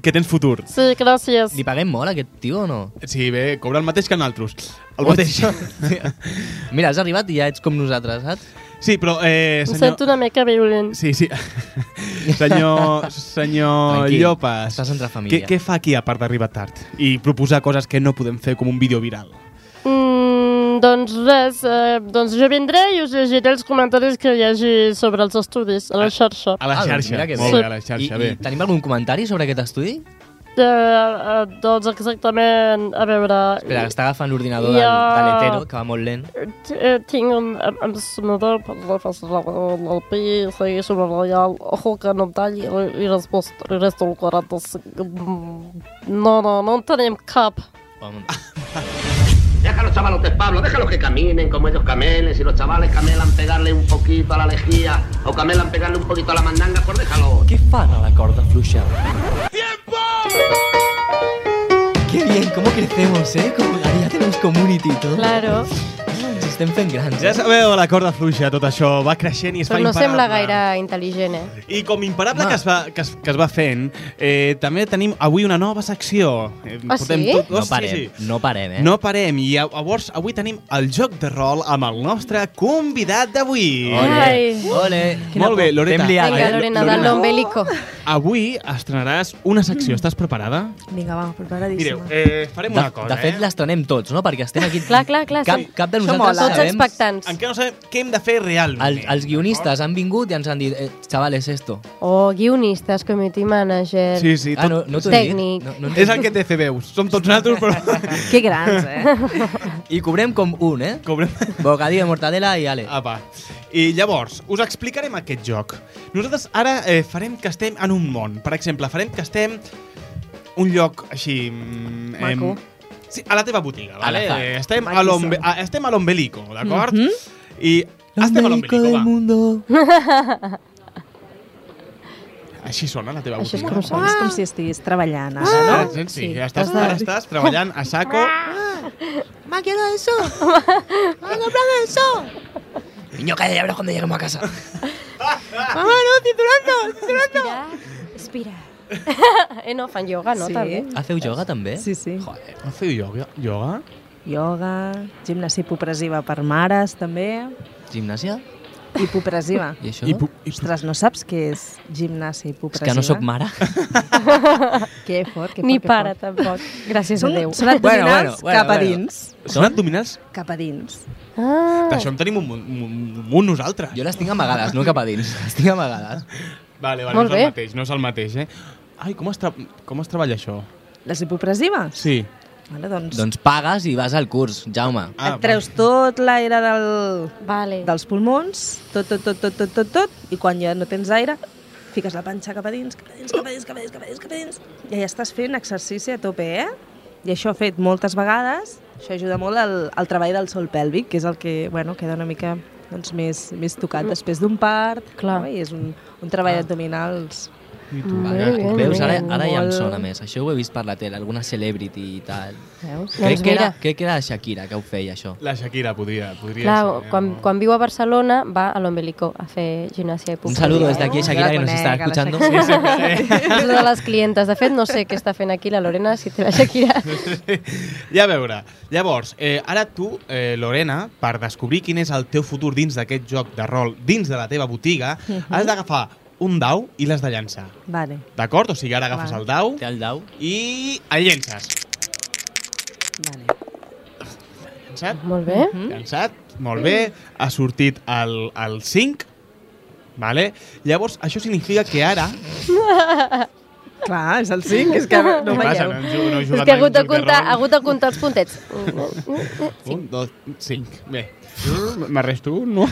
S1: que tens futur.
S10: sí, gràcies.
S2: Li paguem molt, aquest tio, o no?
S1: Sí, bé, cobra el mateix que nosaltres. El
S2: Ui.
S1: mateix.
S2: Mira, has arribat i ja ets com nosaltres, saps?
S1: Sí, però, eh,
S10: Em
S1: senyor...
S10: sento una mica violent.
S1: Sí, sí. senyor senyor
S2: Tranquil,
S1: Llopas.
S2: estàs entre família.
S1: Ah, Què, què fa aquí, a part d'arribar tard? I proposar coses que no podem fer com un vídeo viral.
S10: Mm, doncs res, eh, doncs jo vindré i us llegiré els comentaris que hi hagi sobre els estudis a la
S11: Ah.
S10: xarxa.
S1: A la
S2: doncs
S1: xarxa.
S2: mira que bé.
S1: Molt bé, a la
S2: I,
S1: xarxa,
S2: I
S1: bé.
S2: tenim algun comentari sobre aquest estudi?
S10: Eh, eh, doncs exactament, a veure...
S2: Espera, que està agafant l'ordinador
S10: Ja.
S2: ja... de l'hetero, que va molt lent.
S10: T- eh, Tinc un... em- Em sonador per la fase del pi, segueixo amb el reial, ojo que no em talli i, i després resto el 45. Mm, No, no, no en tenim cap.
S2: Home.
S8: Déjalo, chavalos, que es Pablo, déjalo que caminen como ellos camelen. Si los chavales camelan pegarle un poquito a la lejía o camelan pegarle un poquito a la mandanga, pues déjalo.
S2: Què fan a la corda fluixa? ¡Tiempo! Qué bien, cómo crecemos, eh? Como cada día tenemos community y todo.
S11: Claro,
S2: Ens estem fent grans.
S1: Ja sabeu, la corda fluixa, tot això va creixent i es
S11: però
S1: fa
S11: no
S1: imparable.
S11: sembla gaire intel·ligent, eh?
S1: I com imparable
S2: Home.
S1: que es, va, que, es, que es va fent, eh, també tenim avui una nova secció. Eh,
S11: Ah,
S1: portem
S11: sí?
S1: Tot,
S2: No parem, no parem, eh?
S1: No parem. I a- llavors avui tenim el joc de rol amb el nostre convidat d'avui.
S2: Ole, ole.
S1: Molt bé, Lorena.
S2: Fem liada,
S11: Vinga,
S2: eh?
S11: Lorena, dalo bélico.
S1: Avui estrenaràs una secció. Estàs preparada?
S9: Vinga, va,
S1: Mireu,
S9: preparadíssima.
S1: eh, farem
S2: De,
S1: una cosa,
S2: de fet,
S1: eh?
S2: l'estrenem tots, no? Perquè estem aquí...
S11: Clar, clar, clar,
S2: Cap,
S11: sí.
S2: cap de
S9: Això
S2: nosaltres
S9: mola.
S11: Tots
S2: sabem...
S11: expectants.
S1: Encara no sabem què hem de fer realment.
S2: El, els guionistes han vingut i ens han dit eh, chavales, esto.
S11: Oh, guionistes, community manager...
S1: Sí, sí,
S2: ah,
S1: tot...
S2: no, no t'ho he dit.
S11: Tècnic.
S2: No, no t'ho he
S1: És el que té fer veus. Som tots nosaltres, però...
S9: Que grans, eh?
S2: dit. I cobrem com un, eh?
S1: Cobrem...
S2: Bocadillo de mortadela i ale.
S1: Apa. Ah, I llavors, us explicarem aquest joc. Nosaltres ara eh, farem que estem en un món. Per exemple, farem que estem un lloc així... mm,
S9: Maco.
S1: sí, a la teva botiga, vale?
S2: la fa.
S1: Eh, estem, a
S9: Maquíssim. Mhm.
S1: l'ombe- a- estem a l'ombelico, d'acord? Mm este -hmm. I estem a l'ombelico, va.
S2: mundo.
S1: Així sona la teva
S9: Això és
S1: botiga?
S9: com, ah. és com si estigués treballant ara,
S1: Ah,
S9: no?
S1: sí, sí, ja estàs, ara estàs treballant a saco.
S12: Ma, quiero eso. Ma, cómprame eso.
S2: Niño, calla ya verás cuando lleguemos a casa.
S12: Mamá, no, titulando, titulando.
S10: Respira. eh, no, fan yoga, no?
S9: Sí.
S10: També.
S2: Haceu yoga, també?
S9: Sí, sí.
S1: Feu yoga? yoga?
S9: Yoga, gimnasia hipopressiva per mares, també.
S2: Gimnàsia?
S9: Hipopressiva.
S2: I això? Hipo-
S9: Ostres, no saps què és gimnàsia
S2: És
S9: hipopressiva?
S2: que no sóc mare.
S9: Que fort, que fort.
S10: Ni
S9: que
S10: pare,
S9: fort.
S10: tampoc. Gràcies a
S9: Són-
S10: Déu.
S9: Són abdominals bueno, bueno, bueno, cap a
S2: bueno.
S9: dins.
S1: Són abdominals?
S9: Cap a dins.
S10: Ah,
S1: D'això en tenim un, munt- un, un munt nosaltres.
S2: Jo les tinc amagades, no cap a dins. Les tinc amagades.
S1: Vale, vale,
S10: Molt
S1: no és
S10: bé.
S1: el mateix, no és el mateix, eh? Ai, com es, tra com es treballa això?
S9: Les hipopressives?
S1: Sí.
S9: Vale, doncs,
S2: Doncs pagues i vas al curs, Jaume.
S1: Ah,
S9: et treus tot l'aire del,
S10: vale.
S9: dels pulmons, tot, tot, tot, tot, tot, tot, tot, i quan ja no tens aire, fiques la panxa cap a dins, cap a dins, cap a dins, cap a dins, cap a dins, cap a dins, i ja estàs fent exercici a tope, eh? I això fet moltes vegades, això ajuda molt al, al treball del sol pèlvic, que és el que, bueno, queda una mica doncs, més, més tocat després d'un part,
S10: Clar.
S9: no? i és un, un treball abdominals.
S2: Vale,
S10: Molt bé,
S2: veus,
S10: molt
S2: ara,
S10: bé,
S2: ara ja em
S9: molt.
S2: sona més. Això ho he vist per la tele, alguna celebrity i tal.
S9: Veus?
S10: Doncs
S2: crec, que era,
S10: mira.
S2: crec que era Shakira que ho feia, això.
S1: La Shakira podria, podria
S10: Clar,
S1: ser. eh?
S10: quan,
S1: No?
S10: quan viu a Barcelona va a l'Ombelico a fer gimnàsia
S2: Un
S10: hipopressiva.
S2: saludo desde
S11: eh?
S2: aquí,
S9: Yo la
S2: Shakira, que nos está
S9: conec, a la
S2: escuchando.
S9: Shakira.
S10: És una de les clientes. De fet, no sé què està fent aquí la Lorena, si té la Shakira.
S1: Ja a veure. Llavors, eh, ara tu, eh, Lorena, per descobrir quin és el teu futur dins d'aquest joc de rol, dins de la teva botiga,
S10: Mhm.
S1: has d'agafar un dau i l'has de llançar.
S9: Vale,
S1: D'acord? O sigui, ara agafes
S9: Val.
S1: el dau
S2: Té el dau.
S1: i el llences.
S9: vale.
S1: Llançat,
S10: Molt bé.
S1: llançat, Mm. molt bé. Ha sortit el, el 5, vale? Llavors, això significa que ara...
S9: Clar, és el 5, és que no
S1: Què passa? No,
S9: veieu.
S1: hem ju- no he
S10: És
S1: jugat
S10: que ha
S1: mai a un
S10: hagut de
S1: joc
S10: comptar,
S1: rol.
S10: ha hagut de comptar els puntets.
S1: Un, dos, cinc. Bé. M'arresto un, no? no.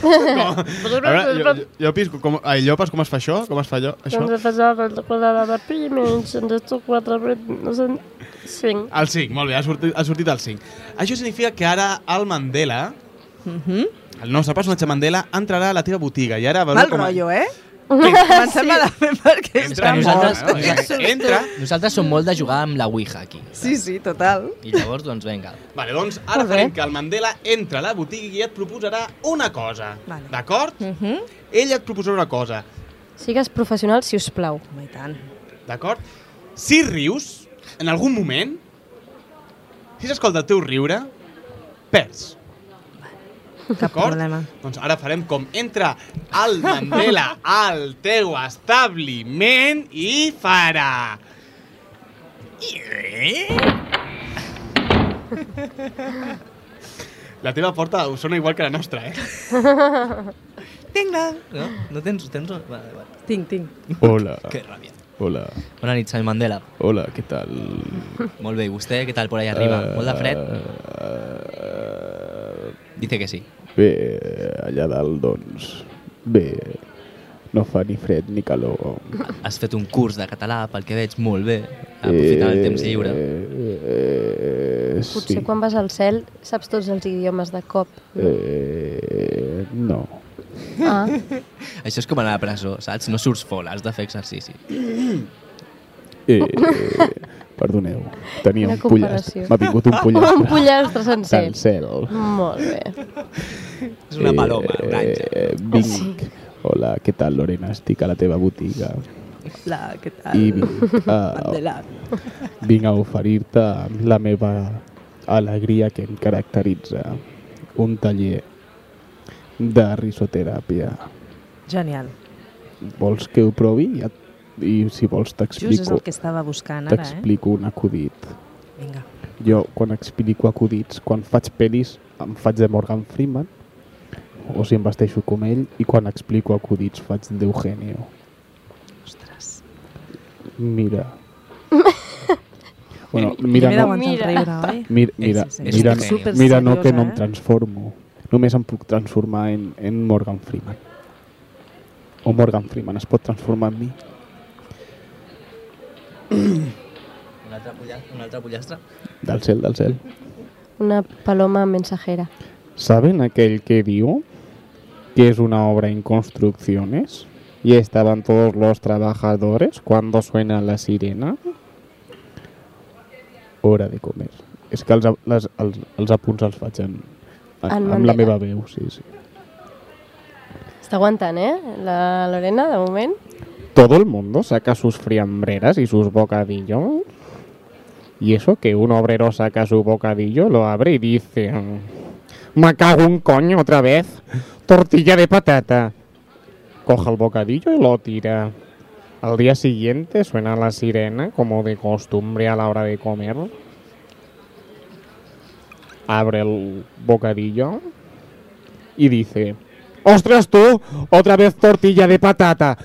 S1: A veure, jo, jo, jo pisco. Com, ai, Llopas, com es fa això? Com es fa allò? això?
S13: Doncs he passat el quadrat de pi menys en d'estos 4, 8, no sé, 5.
S1: El 5, molt bé, ha sortit, ha sortit el 5. Això significa que ara el Mandela, el nostre personatge Mandela, entrarà a la teva botiga i ara... veureu
S9: Mal
S1: com-
S9: rotllo, eh? Comencem malament
S11: eh?
S9: perquè
S1: Entra,
S9: està
S2: nosaltres-
S9: molt...
S1: nosaltres, entra.
S2: Nosaltres som molt de jugar amb la Ouija, aquí.
S9: Sí, sí, total.
S2: I llavors, doncs, vinga.
S1: Vale, doncs ara farem que el Mandela entra a la botiga i et proposarà una cosa.
S9: Vale. Mhm.
S1: D'acord? Ell et proposarà una cosa.
S10: Sigues professional, si us plau.
S13: Oh
S9: Home, i tant.
S1: D'acord? Si rius, en algun moment, si s'escolta el teu riure, perds.
S9: Cap
S1: D'acord?
S9: problema.
S1: Doncs ara farem com entra el Mandela al teu establiment i farà... La teva porta us sona igual que la nostra, eh?
S9: Vinga.
S2: No, no tens... tens... Vale, vale.
S9: Tinc, tinc.
S1: Hola,
S2: Que ràbia.
S1: hola,
S2: Bona nit, Xavi Mandela.
S1: hola, què tal?
S2: Molt bé, i vostè, què tal, por allà arriba? Molt de fred?
S1: Eh,
S2: Dice que sí.
S11: Bé, allà dalt, doncs... Bé, no fa ni fred ni calor.
S2: Has fet un curs de català, pel que veig, molt bé.
S1: Eh,
S2: Aprofitant el temps lliure.
S11: Eh,
S10: Potser quan vas al cel saps tots els idiomes de cop.
S11: Eh, no.
S10: Ah,
S2: Això és com anar a la presó, saps? No surts fora, has de fer exercici.
S11: Eh, perdoneu, tenia
S10: Quina
S11: un
S10: comparació.
S11: pollastre. M'ha vingut un pollastre.
S10: un pollastre sencer.
S11: Del cel.
S10: Molt bé.
S2: És
S1: Eh,
S2: una paloma, un àngel.
S11: Eh, vinc. Hola, què tal, Lorena? Estic a la teva botiga.
S9: La, què tal?
S11: I vinc a,
S9: Mandela.
S11: vinc a oferir-te la meva alegria que em caracteritza. Un taller de risoteràpia.
S9: Genial.
S11: Vols que ho provi? I, et, i si vols
S9: Just és
S11: t'explico
S9: el que estava buscant ara, eh?
S11: t'explico un acudit.
S9: Vinga.
S11: Jo, quan explico acudits, quan faig pel·lis, em faig de Morgan Freeman, o si em vesteixo com ell, i quan explico acudits faig d'Eugenio.
S9: Ostres.
S11: Mira. bueno,
S9: Mira,
S11: mira,
S9: mira,
S11: no,
S9: no. el riure, oi?
S11: mira, mira,
S9: Sí, sí, sí.
S11: mira,
S2: És
S11: no,
S2: super
S11: mira no que no
S9: seriosa,
S11: em
S9: eh?
S11: transformo. Només em puc transformar en, en Morgan Freeman. O Morgan Freeman es pot transformar en mi.
S2: Un altre pollastre, un altre pollastre.
S11: Del cel, del cel.
S10: Una paloma mensajera.
S11: ¿Saben aquel que digo que es una obra en construcciones? y estaban todos los trabajadores cuando suena la sirena. Hora de comer. És que els, a- les, els, els apunts els faig en, en,
S10: En
S11: amb la
S10: Mandela.
S11: meva veu, sí, sí.
S10: Está aguantant, eh? La Lorena, de moment.
S11: Todo el mundo saca sus fiambreras y sus bocadillos. Y eso que un obrero saca su bocadillo, lo abre y dice... "Mm, Me cago un coño otra vez. Tortilla de patata. Coge el bocadillo y lo tira. Al día siguiente suena la sirena como de costumbre a la hora de comer. Abre el bocadillo y dice... ¡Ostras tú! Otra vez tortilla de patata.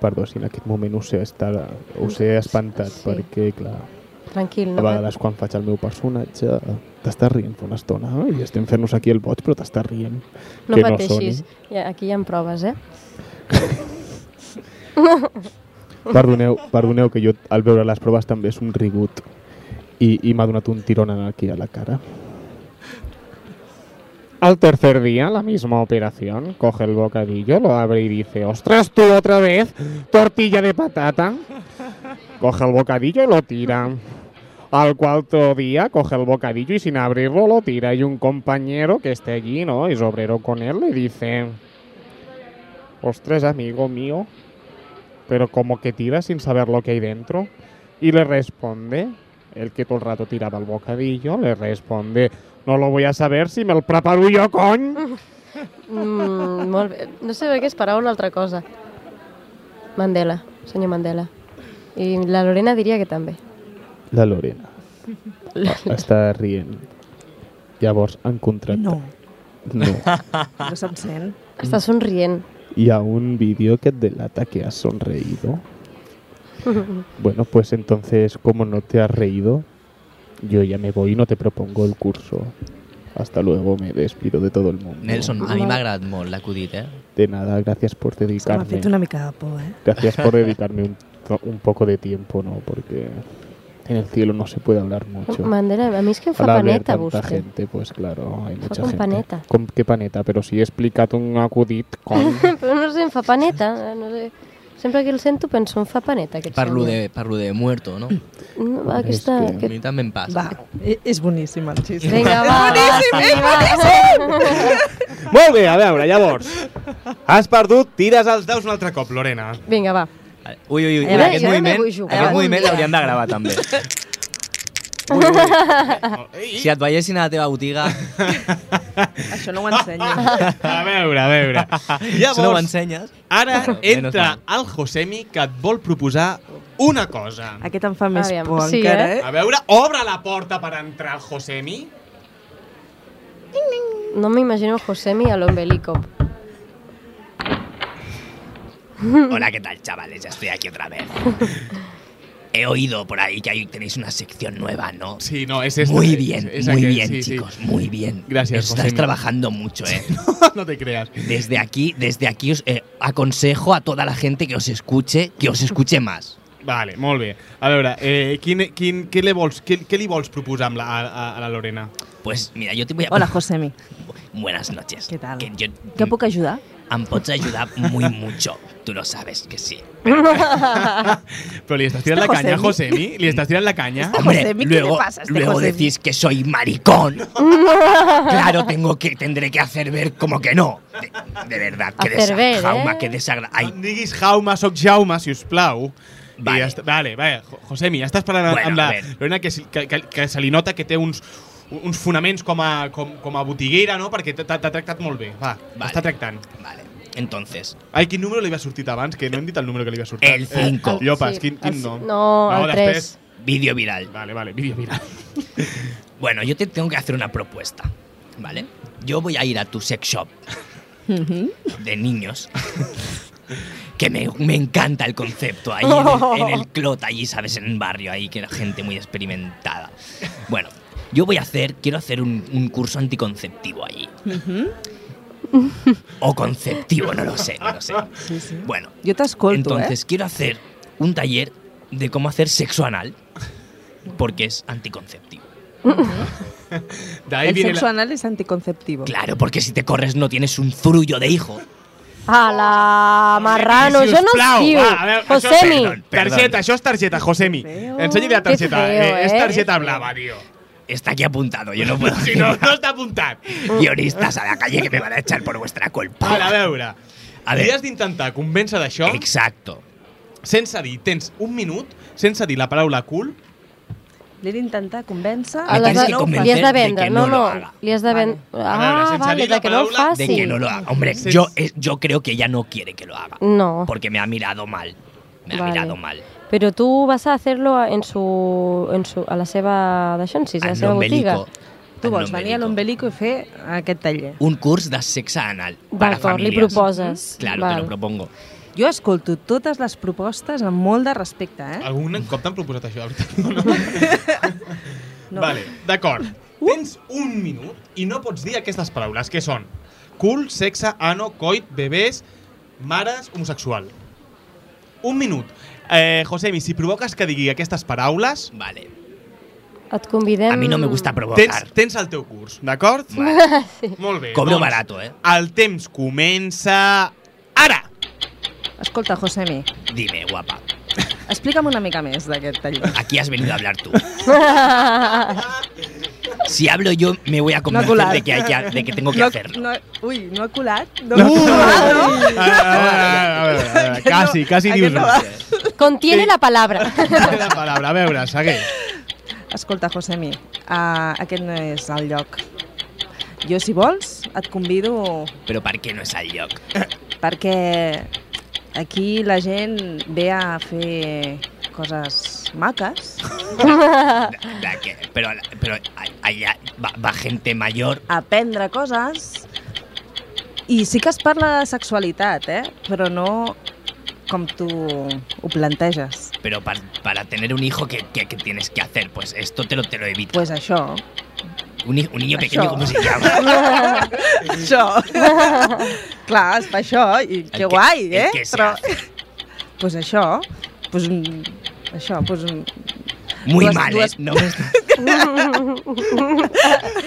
S11: Perdó, si en aquest moment us he, estat, us he espantat, sí. perquè, clar,
S10: Tranquil,
S11: a
S10: no?
S11: vegades quan faig el meu personatge t'estàs rient fa una estona eh? i estem fent-nos aquí el boig, però t'estàs rient.
S10: No
S11: que
S10: pateixis. Ja, aquí hi ha proves, eh?
S11: soni. Perdoneu, perdoneu que jo al veure les proves també he somrigut i, i m'ha donat un tirón aquí a la cara. Al tercer día, la misma operación. Coge el bocadillo, lo abre y dice, ostras tú otra vez, tortilla de patata. Coge el bocadillo y lo tira. Al cuarto día, coge el bocadillo y sin abrirlo lo tira. Y un compañero que esté allí, ¿no? Es obrero con él, le dice, ostras amigo mío, pero como que tira sin saber lo que hay dentro. Y le responde, el que todo el rato tiraba el bocadillo, le responde, no lo voy a saber si me lo preparo yo, cony.
S10: Mm, molt bé. No sé per què esperava una altra cosa. Mandela, senyor Mandela. I la Lorena diria que també.
S11: La Lorena.
S10: La-
S11: Està rient. Llavors, en contracte...
S9: No.
S11: No.
S9: No se'm sent.
S10: Està somrient.
S11: Hi ha un vídeo que et delata que has sonreído. Bueno, pues entonces, como no te has reído, yo ya me voy y no te propongo el curso. Hasta luego, me despido de todo el mundo.
S2: Nelson, a mi m'ha agradat molt l'acudit, eh?
S11: De nada, gracias por
S9: Se m'ha
S11: dedicarme.
S9: fet una mica de por, eh?
S11: Gracias por dedicarme un, un poco de tiempo, ¿no? Porque en el cielo no se puede hablar mucho.
S10: Mandela, a mi és que em fa
S11: Al haber
S10: paneta,
S11: tanta
S10: vostè.
S11: gente, pues claro, hay mucha
S10: con
S11: gente.
S10: paneta.
S11: ¿Con qué paneta? Pero si he explicado un acudit con...
S10: Però no sé, em fa paneta. eh, No sé. Sempre que el sento penso, em fa paneta aquest
S2: Parlo
S10: senyor.
S2: de, parlo de muerto, no?
S10: No, va, aquesta...
S2: És que... A
S10: Aquest...
S2: mi també em passa.
S9: Va, e- és boníssim el xiste.
S10: Vinga, va,
S9: boníssim, és boníssim!
S1: Molt bé, a veure, llavors. Has perdut, tires els daus un altre cop, Lorena.
S10: Vinga, va.
S2: Ui, ui, ui,
S10: Ara,
S2: aquest
S10: jo ara
S2: moviment,
S10: m'hi vull jugar.
S2: aquest moviment
S10: Ara.
S2: l'hauríem de gravar, també. Si et veiessin a la teva botiga...
S9: Això no ho ensenyo.
S1: A veure, a veure.
S2: Això no ho ensenyes?
S1: Ara
S2: Bueno, menys
S1: entra el Josemi que et vol proposar una cosa.
S9: Aquest em fa més
S1: Aviam,
S9: por
S1: sí,
S9: encara,
S1: eh?
S9: eh?
S1: A veure, obre la porta per entrar el Josemi.
S10: No m'imagino el Josemi a l'ombelico.
S2: Hola, ¿qué tal, chavales? Ya estoy aquí otra vez. He oído por ahí que ahí tenéis una sección nueva, ¿no?
S1: Sí, no, es esta,
S2: Muy
S1: es-
S2: bien,
S1: es
S2: muy
S1: aquel,
S2: bien,
S1: sí, sí.
S2: chicos, muy bien.
S1: Gracias,
S2: Estáis
S1: Josemi.
S2: trabajando mucho, ¿eh?
S1: no te creas.
S2: Desde aquí, desde aquí os eh, aconsejo a toda la gente que os escuche, que os escuche más.
S1: Vale, molt bé. A veure, eh, quin, quin, què, li vols, què, què li vols proposar amb la, a, a- a la Lorena?
S2: Pues mira, yo te voy a...
S9: Hola, Josemi.
S2: Buenas noches. ¿Qué tal? Que yo
S9: Què puc ajudar?
S2: em pots ayudar muy mucho. Tú lo sabes que sí.
S1: Però li estàs tirant la
S2: Este
S1: canya, a
S2: Josemi.
S1: Josemi? Li estàs tirant la canya?
S2: Hombre, luego, luego decís que soy maricón. claro, tengo que, tendré que hacer ver como que no. De, de verdad, que
S1: Hacer ver, ¿eh?
S2: jauma, que desagradable.
S1: No em diguis Jaume, soc Jaume, si us plau. Vale. I ja està, vale, vale. Jo- Josemi, ja estàs parlant
S2: Bueno,
S1: bueno, amb la
S2: a ver.
S1: Lorena que, si- que, que, que se li nota que té uns, uns fonaments com a, com, com a botiguera, no? Perquè t'ha t'ha tractat molt bé. Va, vale. està tractant.
S2: Vale, entonces...
S1: Ai, quin número li havia sortit abans? Que no hem dit el número que li havia sortit.
S2: El cinco.
S1: Eh, Llopas,
S2: Sí,
S1: quin,
S2: el
S1: quin
S2: ci-
S1: nom?
S2: no, el
S1: després.
S2: tres.
S10: ah.
S2: Vídeo viral.
S1: Vale, vale, vídeo viral.
S2: Bueno, yo te tengo que hacer una propuesta, ¿vale? Yo voy a ir a tu sex shop de niños. Que me, me encanta el concepto ahí en el, en el clot, allí, ¿sabes? En un barrio ahí, que era gente muy experimentada. Bueno, yo voy a hacer, quiero hacer un, un curso anticonceptivo allí. O conceptivo, no lo sé, no lo sé. Bueno,
S9: Jo t'escolto, eh?
S2: entonces quiero hacer un taller de cómo hacer sexo anal, porque es anticonceptivo.
S1: De
S9: El sexo anal és anticonceptivo.
S2: Claro, porque si te corres no tienes un zurullo de hijo.
S10: A la marrano, jo no
S1: Sisplau,
S10: escriu.
S1: va, a veure, això-
S10: Josemi.
S2: doncs.
S1: Perdón, perdón. Targeta, això és targeta, Josemi.
S9: eh.
S1: Ensenyi la targeta.
S10: feo,
S1: eh, és
S10: eh?
S1: targeta blava, tío.
S2: Está aquí apuntado, yo no puedo.
S1: Si no, no está apuntado.
S2: Guionistas a la calle que me van a echar por vuestra culpa.
S1: Ara, a veure.
S2: A veure.
S1: Li has d'intentar convèncer d'això.
S2: Exacto.
S1: Sense dir, tens un minut sense dir la paraula cul.
S11: L'he d'intentar convèncer...
S2: Ah,
S10: A la- li has de vendre, no, no, li has de vendre. Ah, vale, de que no ho faci.
S2: De que no lo haga. Hombre,
S10: Sí.
S2: yo, es- yo creo que ella no quiere que lo haga.
S10: No.
S2: Porque me ha mirado mal. Me ha
S10: Vale.
S2: mirado mal.
S10: Pero tú vas a hacerlo en su, en su, a la seva d'això, en sis, a la seva botiga.
S11: Tu vols venir a l'Ombelico i fer aquest taller.
S2: Un curso de sexa anal para
S11: D'acord, li
S2: familias.
S11: proposes.
S2: Claro,
S11: Val.
S2: te lo propongo.
S11: Jo escolto totes les propostes amb molt de respecte, eh?
S1: Algun cop t'han proposat això, la veritat? No, no.
S11: No. Uh!
S1: Vale, d'acord. Tens un minut i no pots dir aquestes paraules, que són cul, sexe, ano, coit, bebès, mares, homosexual. Un minut. Eh, Josemi, si provoques que digui aquestes paraules...
S2: Vale.
S10: Et convidem...
S1: Tens, tens el teu curs, d'acord?
S10: sí.
S1: Molt bé.
S2: Cobro barato, eh?
S1: El temps comença...
S11: Escolta, Josemi,
S2: Dime, guapa.
S11: explica'm una mica més d'aquest taller.
S2: Aquí has venido a hablar tú.
S11: no
S2: Si hablo yo, me voy a convencer
S11: colar.
S2: de que, hay que- de que tengo que
S11: no,
S2: hacerlo.
S11: No, ui, no ha colat? No,
S2: No.
S11: no, no,
S1: Uh! A veure, a veure, a veure, Quasi, quasi dius...
S11: no
S1: una.
S10: Contiene la palabra.
S1: La paraula, a veure, segueix.
S11: Escolta, Josemi,
S9: eh,
S11: uh, aquest no és el lloc. Jo, si vols, et convido
S2: Pero ¿para qué no es al lloc?
S11: perquè aquí la gent ve a fer coses maques.
S2: Da que- Pero, pero allá va, va gente mayor.
S11: aprendre coses i sí que es parla de sexualitat, eh? però no com tu ho planteges.
S2: Pero para, para tener un hijo, ¿qué, qué, qué tienes que hacer? Pues esto te lo, te lo evito.
S11: Pues això.
S2: Un, hi- un niño pequeño,
S11: Això.
S2: ¿cómo se llama?
S11: això. Clar, es fa això i que guai,
S2: el
S11: eh?
S2: que se
S11: pues això, pues un... Això, pues un...
S2: Muy
S11: dues-
S2: mal, ¿eh?
S11: dues-
S2: No me-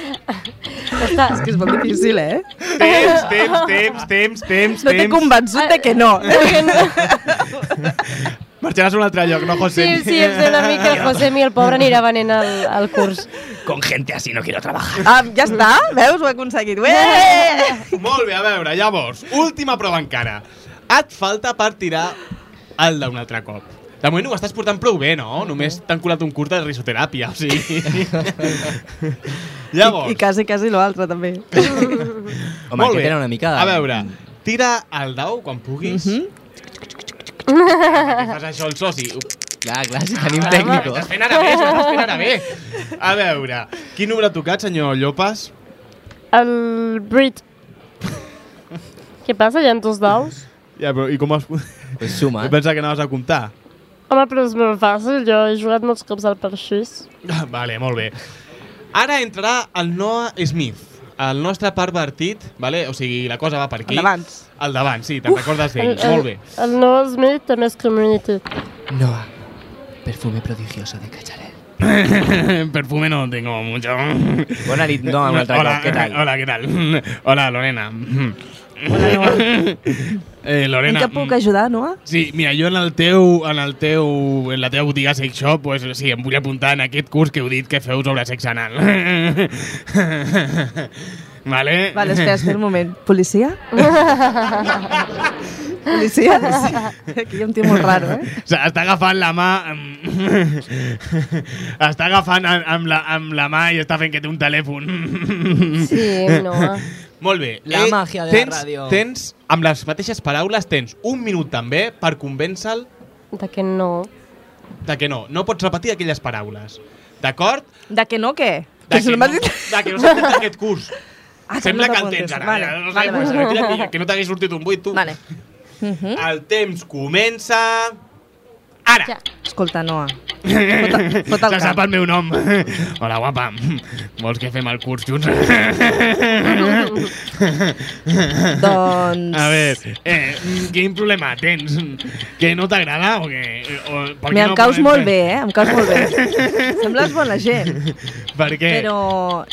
S11: és que és molt difícil, eh?
S1: Temps, temps, temps, temps, temps,
S11: No t'he
S1: temps.
S11: convençut de que no.
S1: Marxaràs a un altre lloc, no, José?
S10: Sí, sí, em sembla a mi que el Josemi, el pobre, anirà venent al, al curs.
S2: Con gente así no quiero trabajar.
S11: Ah, ja està, veus, ho he aconseguit. Ué!
S1: Molt bé, a veure, llavors, última prova encara. Et falta per tirar el d'un altre cop. De moment ho estàs portant prou bé, no? Només t'han colat un curs de risoteràpia, o sigui... llavors...
S11: I, i quasi, quasi l'altre, també.
S2: Home,
S1: Molt
S2: que
S1: bé.
S2: tenen una mica mm. de-
S1: A veure, tira el dau quan puguis. Mm
S11: Mhm.
S1: Fas això el soci.
S2: Clar, clar, si tenim
S1: tècnic. Estàs fent ara bé, estàs fent ara bé. A veure, quin número ha tocat, senyor Llopas?
S14: El Brit. Què passa? Hi ha dos daus?
S1: Ja, però, I com has...
S2: Pues suma.
S1: Em Pensa que anaves a comptar.
S14: Home, però és molt fàcil. Jo he jugat molts cops al parxís.
S1: Ah, Vale, molt bé. Ara entrarà el Noah Smith, el nostre pervertit, vale? o sigui, la cosa va per aquí.
S14: El d'abans.
S1: El d'abans, sí, te'n recordes d'ell. Molt bé.
S14: El, el Noah Smith també és community.
S2: Noah, perfume prodigioso de Cacharel.
S1: Perfume no tengo mucho.
S2: Bona nit, no, un altre
S1: hola,
S2: cop, què tal?
S1: Hola, què tal? Hola, Lorena.
S11: Hola, Noah.
S1: eh,
S11: En
S1: Lorena.
S11: què et puc ajudar, Noah?
S1: Sí, mira, jo en el teu, en el teu, en la teva botiga Sex Shop, pues, sí, em vull apuntar en aquest curs que heu dit que feu sobre sexe anal. vale?
S11: Vale, espera, espera un moment. Policia? Policia? Sí. Aquí hi ha un tio molt raro, eh?
S1: O sigui, està agafant la mà... amb- està agafant amb, amb, la, amb la mà i està fent que té un telèfon.
S10: Sí, no.
S1: Molt bé. Eh,
S10: La màgia de la
S1: tens,
S10: ràdio.
S1: Tens, amb les mateixes paraules, tens un minut també per convèncer-lo
S10: De que no.
S1: de que no. No pots repetir aquelles paraules. D'acord?
S11: De que no, què?
S1: De que, no, de que no s'ha fet aquest curs.
S11: Ah, que
S1: Sembla
S11: no
S1: que, el
S11: t'apuntes.
S1: tens ara.
S11: Vale,
S1: Mira, no
S11: vale,
S1: s'ha
S11: vale.
S1: fet, mira, que- que no t'hagués sortit un buit, tu. Vale. El temps comença... Ara! Ja.
S11: Escolta, Noah.
S1: Fot
S11: el
S1: Se sap
S11: cap.
S1: el meu nom. Hola, guapa. Vols que fem el curs junts?
S11: Doncs-
S1: A veure, eh, quin problema tens? Que no t'agrada o que... O, per què
S11: Mira, em
S1: no
S11: caus
S1: podem
S11: molt
S1: fer-
S11: bé, eh? Em caus molt bé. Sembles bona gent.
S1: Per què?
S11: Però...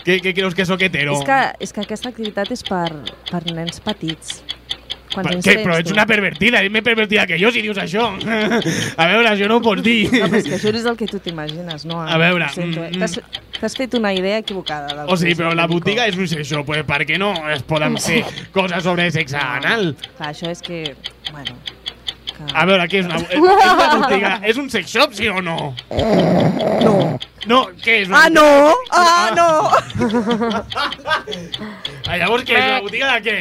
S1: Què, què creus que sóc hetero?
S11: És que, és que aquesta activitat és per, per nens petits.
S9: Quants
S11: Per
S9: anys
S11: què?
S9: tens,
S11: Però ets
S9: tu?
S11: una pervertida, ets més pervertida que jo si dius això. A veure, això no ho pots dir.
S9: No, però és que això és el que tu t'imagines, no?
S11: A veure,
S9: Ho sento, eh?
S11: mm,
S9: T'has- T'has fet una idea equivocada. Del
S11: O sigui,
S9: que
S11: però
S9: és
S11: la
S9: el Nico.
S11: botiga és un sexo, pues per què no es poden fer coses sobre sexe anal?
S9: Clar, això és que... Bueno,
S11: A veure, què és una, és una botiga? És un sex shop, sí o no? No. No, què és una
S9: Ah, no! Ah, no!
S11: Ah, llavors, què és una botiga de què?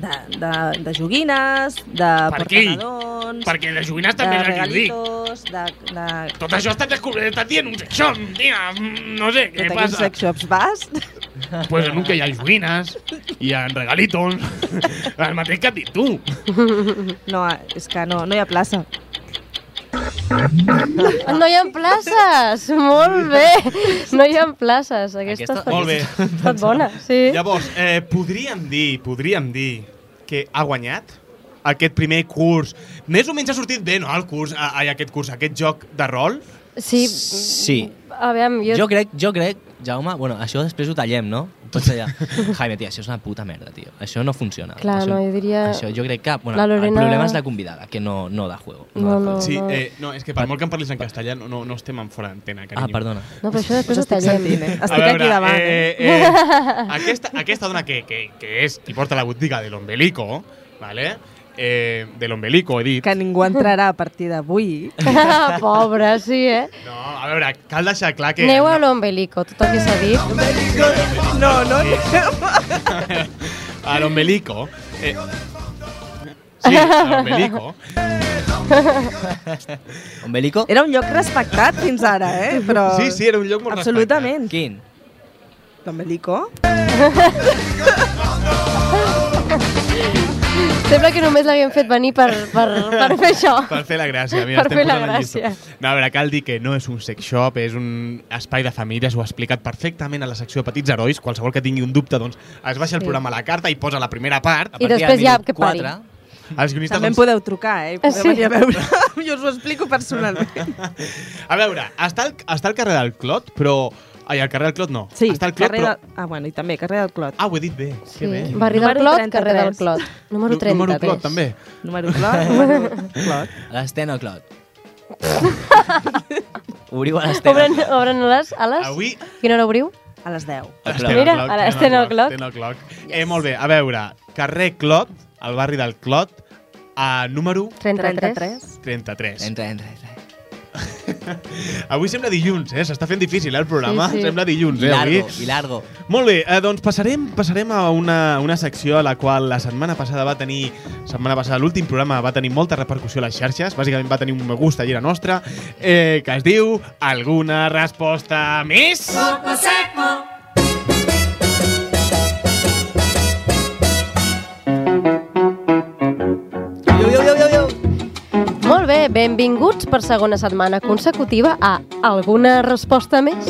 S9: de, de, de joguines, de
S11: Per què?
S9: portadons...
S11: Perquè les joguines també
S9: de
S11: les que dic.
S9: regalitos, de, de...
S11: Tot això estàs descobrint, estàs dient un sex shop, tia, mm, no sé,
S9: de
S11: què
S9: quins
S11: passa?
S9: sex shops vas?
S11: Pues en un que hi ha joguines, hi ha regalitos, el mateix que has dit tu.
S9: No, és que no, no hi ha plaça.
S10: No hi ha places! Molt bé! No hi ha places. Aquesta,
S1: Aquesta- Molt bé.
S10: Ha estat bona, sí.
S1: Llavors, eh, podríem dir, podríem dir que ha guanyat aquest primer curs. Més o menys ha sortit bé, no, el curs, a, a, aquest curs, aquest joc de rol?
S10: Sí.
S2: Sí.
S10: Aviam, jo...
S2: Jo crec, jo crec, Jaume, bueno, això després ho tallem, no? Pots allà. Jaime, tia, això és una puta merda, tio. Això no funciona.
S10: Clar,
S2: això,
S10: no, jo diria-
S2: Això jo crec que, bueno,
S10: La
S2: el
S10: Lorena-
S2: problema és la convidada, que no, no da juego.
S10: No, no,
S1: sí,
S10: no.
S1: Eh, no, és que per molt que em parlis en castellà no, no, no estem en fora d'antena, carinyo.
S2: Ah, perdona.
S10: No, però això després ho tallem.
S1: A veure, Eh, eh, aquesta, aquesta dona que, que, que és qui porta la botiga de l'ombelico, ¿vale? eh, de l'ombelico, he dit.
S9: Que ningú entrarà a partir d'avui.
S10: Pobre, sí, eh?
S1: No, a veure, cal deixar clar que...
S10: Aneu a l'ombelico, tot el que s'ha dit.
S9: No, no,
S1: A l'ombelico... Eh, sí, a l'ombelico.
S2: Ombelico?
S9: Era un lloc respectat fins ara, eh? Però...
S1: Sí, sí, era un lloc molt
S11: Eh,
S9: Absolutament.
S2: Quin?
S9: L'ombelico.
S10: Sembla que només l'haguem fet venir per, per, per fer això.
S1: Per fer la gràcia, mira,
S10: Per
S1: estem
S10: fer la
S1: posant el llistó.
S10: gràcia.
S1: No, a veure, cal dir que no és un sex shop, és un espai de famílies, ho ha explicat perfectament a la secció de Petits Herois, qualsevol que tingui un dubte, doncs es baixa el
S9: Sí.
S1: programa a la carta i posa la primera part.
S9: I després ja que pari.
S1: Els guionistes,
S9: També em
S1: doncs,
S9: podeu trucar, eh? I Podeu
S1: Sí.
S9: venir a veure. Jo us ho explico personalment.
S1: A veure, està al, està al carrer del Clot, però... Ai, al carrer del Clot no.
S9: Sí,
S1: està al Clot,
S9: carrer
S1: però...
S9: del... Ah, bueno, i també, carrer del Clot.
S1: Ah, ho he dit bé. Sí. Que bé.
S10: Barri del
S9: Número
S10: Clot,
S9: 33.
S10: carrer del Clot. Número
S1: Nu- Mm. número
S10: 33.
S1: Clot, també.
S9: Número Clot, número Clot.
S2: L'estena al clot. Obriu a l'estena.
S10: Obren, obren les ales?
S1: Avui-
S10: Quina hora obriu?
S9: A les 10.
S1: Estén al
S10: Mira,
S1: Clot,
S10: ara
S1: estén
S10: estén al Clot.
S1: estén al Clot. Eh, molt bé, a veure, carrer Clot, al barri del Clot, a número...
S10: 33.
S1: 33.
S2: Entra, entra, entra.
S1: Avui sembla dilluns, eh? S'està fent difícil, eh, el programa.
S2: Sí, sí.
S1: Sembla dilluns,
S2: I
S1: eh,
S2: largo,
S1: avui.
S2: i largo.
S1: Molt bé, eh, doncs passarem, passarem a una, una secció a la qual la setmana passada va tenir... Setmana passada, l'últim programa va tenir molta repercussió a les xarxes. Bàsicament va tenir un me gusta i era nostra, eh, que es diu Alguna resposta més?
S15: Coco seco.
S10: Molt bé, benvinguts per segona setmana consecutiva a Alguna resposta més?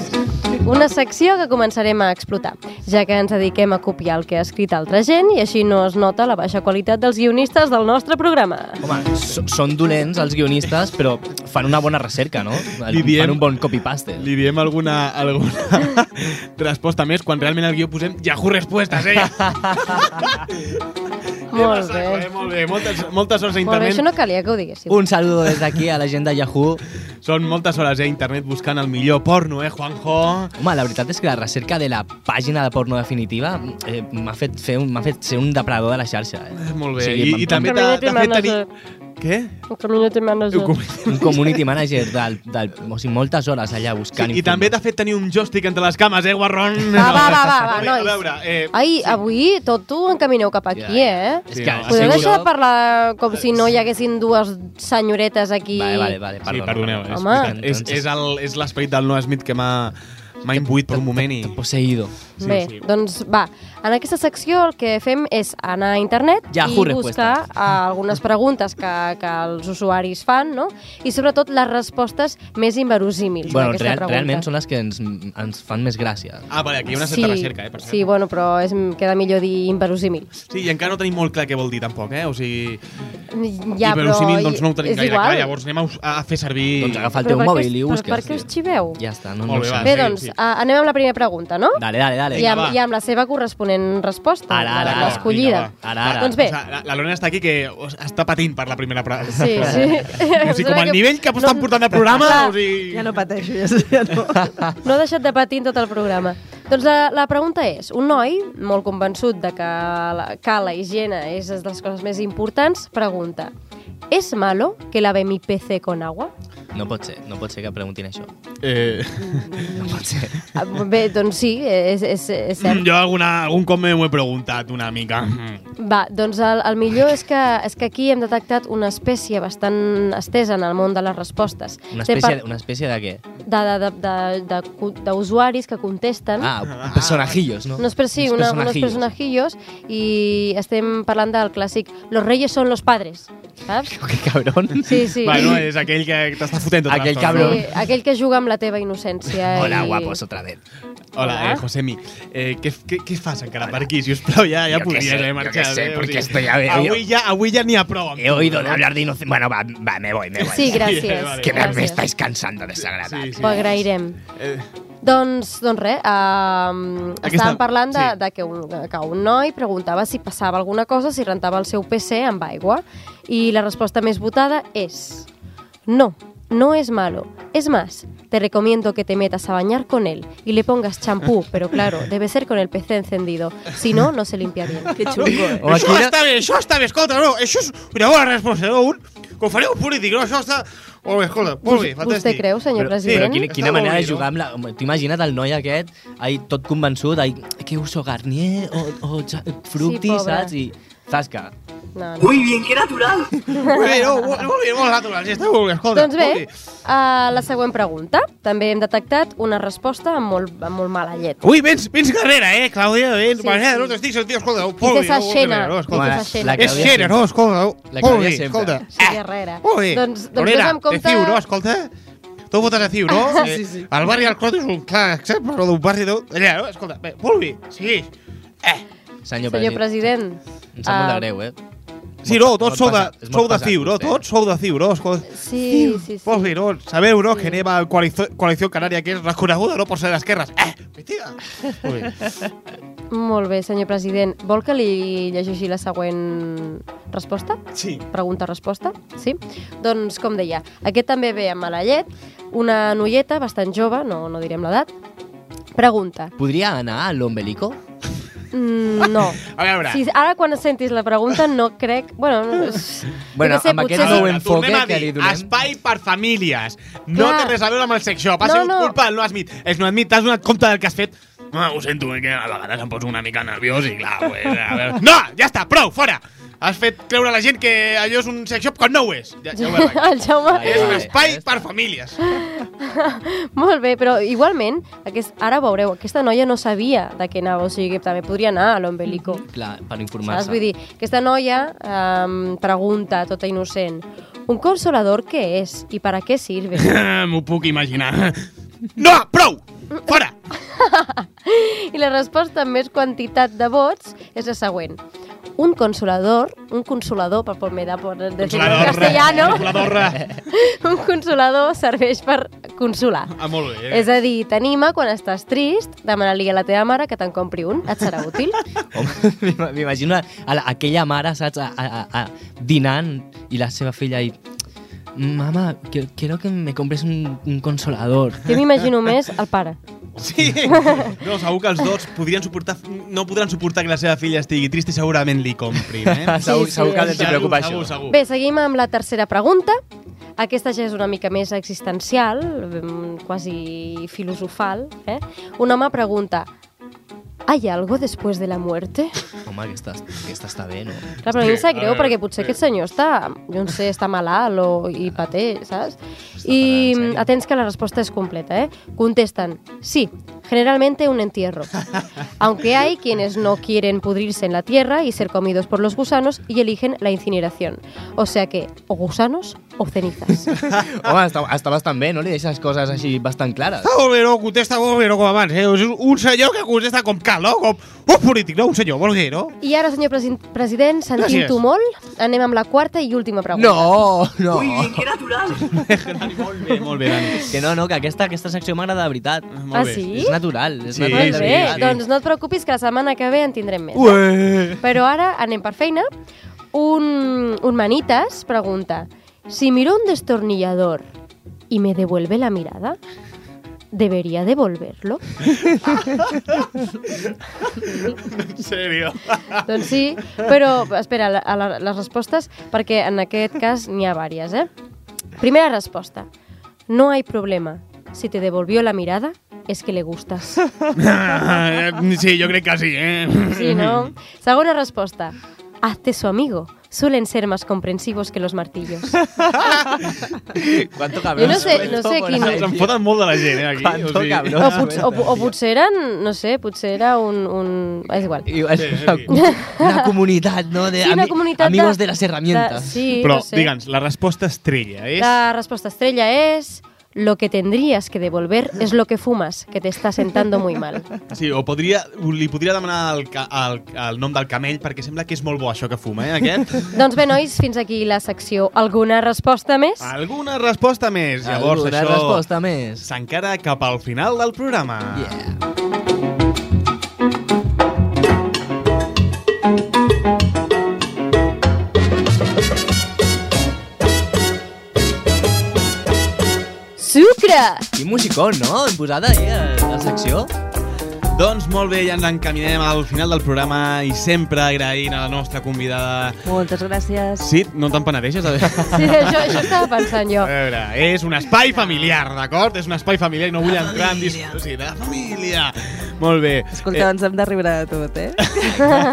S10: Una secció que començarem a explotar, ja que ens dediquem a copiar el que ha escrit altra gent i així no es nota la baixa qualitat dels guionistes del nostre programa.
S1: Oh,
S2: Home, so- són dolents els guionistes, però fan una bona recerca, no?
S1: Li diem-
S2: fan un bon copy-paste.
S1: Li diem alguna, alguna resposta més quan realment al guió posem Yahoo Respuestes, eh?
S10: Molt bé.
S1: eh molt bé, moltes, moltes hores a
S10: Molt bé,
S1: internet.
S10: això no calia que ho diguéssiu.
S2: Un saludo des d'aquí a la gent de Yahoo.
S1: Són moltes hores eh, a internet buscant el millor porno, eh, Juanjo?
S2: Home, la veritat és que la recerca de la pàgina de porno definitiva eh, m'ha fet, fer un, m'ha fet ser un depredador de la xarxa. Eh?
S1: Molt bé, i- i també
S2: t'ha
S1: t'ha- t'ha fet tenir... Què?
S10: Un community manager.
S2: Un community manager del, del, o sigui, moltes hores allà buscant
S1: I també t'ha fet tenir un joystick entre les cames, eh, Guarrón?
S10: Va, Ah, va, va, va, va,
S1: Molt bé,
S10: nois.
S1: A veure, eh,
S10: Ai, avui tot tu encamineu cap aquí, eh?
S2: És que ha
S10: Podeu
S2: sigut-
S10: deixar de parlar com si no hi haguessin dues senyoretes aquí.
S1: Sí, perdoneu. És,
S10: Home.
S1: veritat. és, és, el- és l'esperit del Noah Smith que m'ha m'ha imbuït per un moment i... T'ha
S2: posseïdo.
S10: Bé, doncs va, en aquesta secció el que fem és anar a internet
S2: Yahoo
S10: i buscar
S2: respuestas.
S10: eh, algunes preguntes que, que els usuaris fan, no? I sobretot les respostes més inverosímils
S2: Bueno,
S10: d'aquesta
S2: real,
S10: pregunta.
S2: realment són les que ens, ens fan més gràcia.
S1: Ah, vale, aquí hi ha una certa recerca, eh, per cert.
S10: Sí, bueno, però és, queda millor dir inverosímil.
S1: Sí, i encara no tenim molt clar què vol dir, tampoc, eh? O sigui, i
S10: Ja,
S1: verosimil,
S10: però
S1: doncs no ho tenim
S10: és
S1: gaire
S10: igual.
S1: clar, llavors anem a, us- a fer servir... Doncs
S2: agafa
S10: Però per què us- per- Per què us xiveu?
S2: Ja està, no,
S1: Molt bé,
S2: no ho
S1: va,
S2: sé.
S10: Bé, doncs, eh, anem amb la primera pregunta, no?
S2: Dale, dale, dale.
S10: I amb, I amb la seva corresponent donen resposta.
S11: Ara, ara,
S10: la
S11: ara,
S10: escollida.
S11: vinga, va. Ara, ara.
S10: Doncs bé,
S11: O sigui, la, la Lorena està aquí que o sigui, està patint per la primera pre-
S10: Sí, sí.
S11: O sigui, com el
S10: Que-
S11: nivell que estan portant de programa...
S10: Clar.
S11: O sigui...
S1: Ja no pateixo, ja, ja no.
S10: No ha deixat de patir en tot el programa. Doncs la, la pregunta és, un noi molt convençut de que la, que la higiene és de les coses més importants, pregunta, ¿es malo que lave mi PC con agua?
S2: No pot ser, no pot ser que preguntin això.
S11: Eh...
S2: No pot ser.
S10: Ah, Bé, doncs sí, és, és, és
S11: Mm,
S10: cert.
S11: Jo alguna, algun cop m'ho he preguntat una mica.
S2: Mhm.
S10: Va, doncs el, el millor és que, és que aquí hem detectat una espècie bastant estesa en el món de les respostes.
S2: Una
S10: Té
S2: espècie, una espècie de què?
S10: de- d'usuaris que contesten.
S2: Ah, personajillos, no?
S10: Unos, per- sí,
S2: Uns
S10: una- unos
S2: personajillos.
S10: personajillos i estem parlant del clàssic Los reyes son los padres, saps?
S2: Oh, Cabrón.
S10: Sí, sí.
S11: Bueno,
S1: eh,
S11: és aquell que t'està fotent tota
S2: Aquell
S11: l'estona.
S2: cabrón.
S10: Sí, aquell que juga amb la teva innocència.
S11: Hola,
S10: i...
S11: guapos,
S2: otra vez.
S11: Hola, eh, Josemi. Eh, què, què, què fas encara per aquí? Si us plau, ja, ja
S2: Jo què
S11: podries
S2: sé,
S11: haver
S2: jo
S11: marxat.
S2: què sé,
S11: eh? O
S2: perquè
S11: sigui,
S2: estoy a Eh, ver,
S11: avui, ja, avui ja n'hi ha prou.
S2: He oído de hablar de inocencia. Bueno, va, va, me voy, me voy.
S10: Sí, gracias,
S2: Que me- me,
S10: gracias.
S2: estáis cansando de esa Sí,
S10: Ho agrairem.
S11: Eh,
S10: Doncs, doncs res, um,
S2: Aquesta-
S10: estàvem parlant de,
S2: sí.
S10: de que, un, que un noi preguntava si passava alguna cosa si rentava el seu PC amb aigua i la resposta més votada és no, no es malo. Es más, te recomiendo que te metas a bañar con él y le pongas champú, pero claro, debe ser con el PC encendido. Si no, no se limpia bien.
S1: Qué
S11: O això està bé, això està bé, escolta, no, això és una bona resposta d'un... Com fareu polític, no? Això està... Molt bé, escolta, molt bé,
S10: Vostè
S11: fantàstic.
S10: creu, senyor
S11: Però-
S10: president?
S2: Però quina, quina
S11: Està
S2: manera
S11: molt
S2: de
S11: bé, no?
S2: jugar amb la... home, T'ho imagina't el noi aquest, ahí, tot convençut, ahí, que uso Garnier o, o ja- fructi,
S10: pobre.
S2: saps? I zasca.
S10: No, no.
S2: Muy
S10: bien, qué natural.
S11: Molt bé, no, molt, molt bé, molt natural, sí, està molt bé, escolta.
S10: Doncs bé,
S11: molt
S10: a la següent pregunta. També hem detectat una resposta amb molt, amb molt mala llet.
S11: Ui, vens, vens carrera, eh, Clàudia, vens,
S10: Sí,
S11: sí, sí.
S10: sí.
S11: no t'estic sentint, escolta, oh,
S10: Qui té sa
S11: molt
S10: xena,
S11: bé, no, escolta.
S10: qui té sa xena.
S11: És xena, no, escolta, oh, molt bé, escolta.
S10: Sí, Herrera.
S11: Molt bé.
S10: Doncs, doncs
S11: Lorena,
S10: ves amb compte...
S11: de Ciu, no? Escolta, tu votes a Ciu, no?
S10: Ah,
S11: Eh,
S10: sí, sí.
S11: El barri del Clot és un clar exemple no, d'un barri d'un... Allà, no? Escolta, bé, Eh, molt bé, sí.
S2: Senyor,
S10: Senyor president.
S2: Em sap molt
S10: ah,
S2: de greu, eh?
S11: Sí, no, tots
S2: Molt
S11: sou de,
S2: pesat, és molt
S11: sou de
S2: pesat,
S11: Ciu, no?
S2: vostè.
S11: Tots sou de Ciu, no? Escolta,
S10: Sí, sí, sí.
S11: molt bé, no? Sabeu, no? Que anem a Coalició, Coalició Canària, que és reconeguda, no? Per ser d'esquerres. Eh, mentida. Molt bé.
S10: Molt bé, senyor president. Vol que li llegeixi la següent resposta?
S11: Sí.
S10: Pregunta-resposta? Sí? Doncs, com deia, aquest també ve amb mala llet. Una noieta bastant jove, no, no direm l'edat, pregunta.
S2: Podria anar a l'ombelico?
S10: Mm, no.
S11: A veure.
S10: Si, ara, quan sentis la pregunta, no crec... Bueno, no, és-
S2: Bueno,
S10: jo què sé,
S2: amb aquest
S10: potser
S2: nou
S10: sí.
S2: enfoque
S11: Tornem a
S2: que
S11: dir,
S2: li donem...
S11: espai per famílies. No
S10: Clar.
S11: té res a veure amb el sex shop. Ha
S10: No,
S11: sigut
S10: no.
S11: culpa del no admit. És no admit, t'has donat compte del que has fet? Ah, ho sento, eh, que a vegades em poso una mica nerviós i clar, pues, a veure... No, ja està, prou, fora! Has fet creure a la gent que allò és un sex shop quan no ho és. Ja, ja ho veurem.
S10: El Jaume...
S11: és un espai per famílies.
S10: Molt bé, però igualment, aquest, ara veureu, aquesta noia no sabia de què anava, o sigui que també podria anar a l'ombelico.
S2: Clar, per
S10: Saps?
S11: Mm-hmm.
S2: informar-se.
S10: Vull dir, aquesta noia um, pregunta, tota innocent, un consolador què és i per a què sirve?
S11: Eh, M'ho puc imaginar. No, prou! Fora!
S10: I la resposta amb més quantitat de vots és la següent. Un consolador, un consolador, per por me da por decirlo en
S11: Consolador.
S10: castellano,
S11: Consolador.
S10: un consolador serveix per consolar.
S11: Ah, molt bé.
S10: És a dir, t'anima quan estàs trist, demana-li a la teva mare que te'n compri un, et serà útil.
S2: M'ima- M'imagino a, a la- aquella mare, saps, a, a, a, a dinant i la seva filla i... Mama, que- quiero que me compres un, un consolador.
S10: Jo m'imagino més el pare.
S11: Sí. No, segur que els dos podrien suportar, no podran suportar que la seva filla estigui trista i segurament li comprin, eh?
S2: Sí, Segur- sí. segur que els hi preocupa
S11: Segur,
S2: això.
S11: segur.
S10: Bé, seguim amb la tercera pregunta. Aquesta ja és una mica més existencial, mm, quasi filosofal. Eh? Un home pregunta, ¿hay algo después de la muerte?
S2: Home, aquesta, aquesta està bé, no?
S10: Clar, però a mi em sap greu perquè potser aquest senyor està, jo no sé, està malalt o, i paté, saps? I atents que la resposta és completa, ¿eh? Contestan, sí, generalmente un entierro. Aunque hay quienes no quieren pudrirse en la tierra y ser comidos por los gusanos y eligen la incineración. O sea que, o gusanos o cenizas.
S2: Home, està, està bastant bé, no? Li deixes coses així bastant clares.
S11: Està molt bé, no? Contesta molt bé, no? Com abans, eh? És un senyor que contesta com cal, no? Com un polític, no? Un senyor, vol dir, no?
S10: I ara, senyor presi- president, sentint-ho
S11: Gràcies.
S10: molt, anem amb la quarta i última pregunta.
S2: No, no.
S10: Ui,
S2: que natural.
S11: molt bé, molt bé, Dani.
S2: Que no, no, que aquesta, aquesta secció m'agrada de veritat.
S10: Ah, bé. sí?
S2: És una natural. És
S1: Sí,
S2: natural, de
S1: sí,
S10: Bé,
S2: veritat.
S10: doncs no et preocupis que la setmana que ve en tindrem més.
S2: Ué.
S10: Però ara anem per feina. Un, un manitas pregunta Si miro un destornillador y me devuelve la mirada, ¿debería devolverlo?
S1: En sèrio.
S10: doncs sí, però espera, la, a la, les respostes, perquè en aquest cas n'hi ha vàries, eh? Primera resposta. No hay problema. Si te devolvió la mirada, es que le gustas.
S11: Eh,
S16: sí, jo crec que sí, eh?
S10: Sí, ¿no? Segona resposta. Hazte su amigo. Suelen ser más comprensivos que los martillos.
S2: ¿Cuánto
S10: cabrón Yo no sé- no sé quin-
S1: Se'n foten molt de la gent, eh, aquí.
S2: Quanto cabrón.
S1: Ah,
S10: O, pot, o, o potser eren, no sé, potser era un... un... És igual.
S2: I és una, una comunitat, no? De
S10: Sí, una
S2: Eh, ami-
S10: comunitat
S2: amigos
S10: de-
S2: de, las herramientas.
S10: de- sí,
S1: Però,
S10: no sé.
S1: digue'ns, la resposta estrella és... eh?
S10: La respuesta estrella es... Lo que tendrías que devolver es lo que fumas, que te está sentando muy mal.
S1: Sí, o podria, li podria demanar el, ca- el, el nom del camell perquè sembla que és molt bo això que fuma, eh, aquest?
S10: doncs bé, nois, fins aquí la secció. Alguna resposta més?
S1: Alguna resposta més. Llavors,
S2: Alguna
S1: això
S2: resposta més.
S1: s'encara cap al final del programa. Yeah.
S10: Sucre!
S2: Quin musicó, no? Hem posat ahí a la secció.
S1: Doncs molt bé, ja ens encaminem al final del programa i sempre agraint a la nostra convidada...
S9: Moltes gràcies.
S1: Sí, no te'n penedeixes? A veure.
S10: Sí, això, això estava pensant jo.
S1: A veure, és un espai familiar, d'acord? És un espai familiar i no vull entrar en discussió. Sí, de família. Molt bé. Eh,
S9: Escolta, ens hem de riure de tot, eh?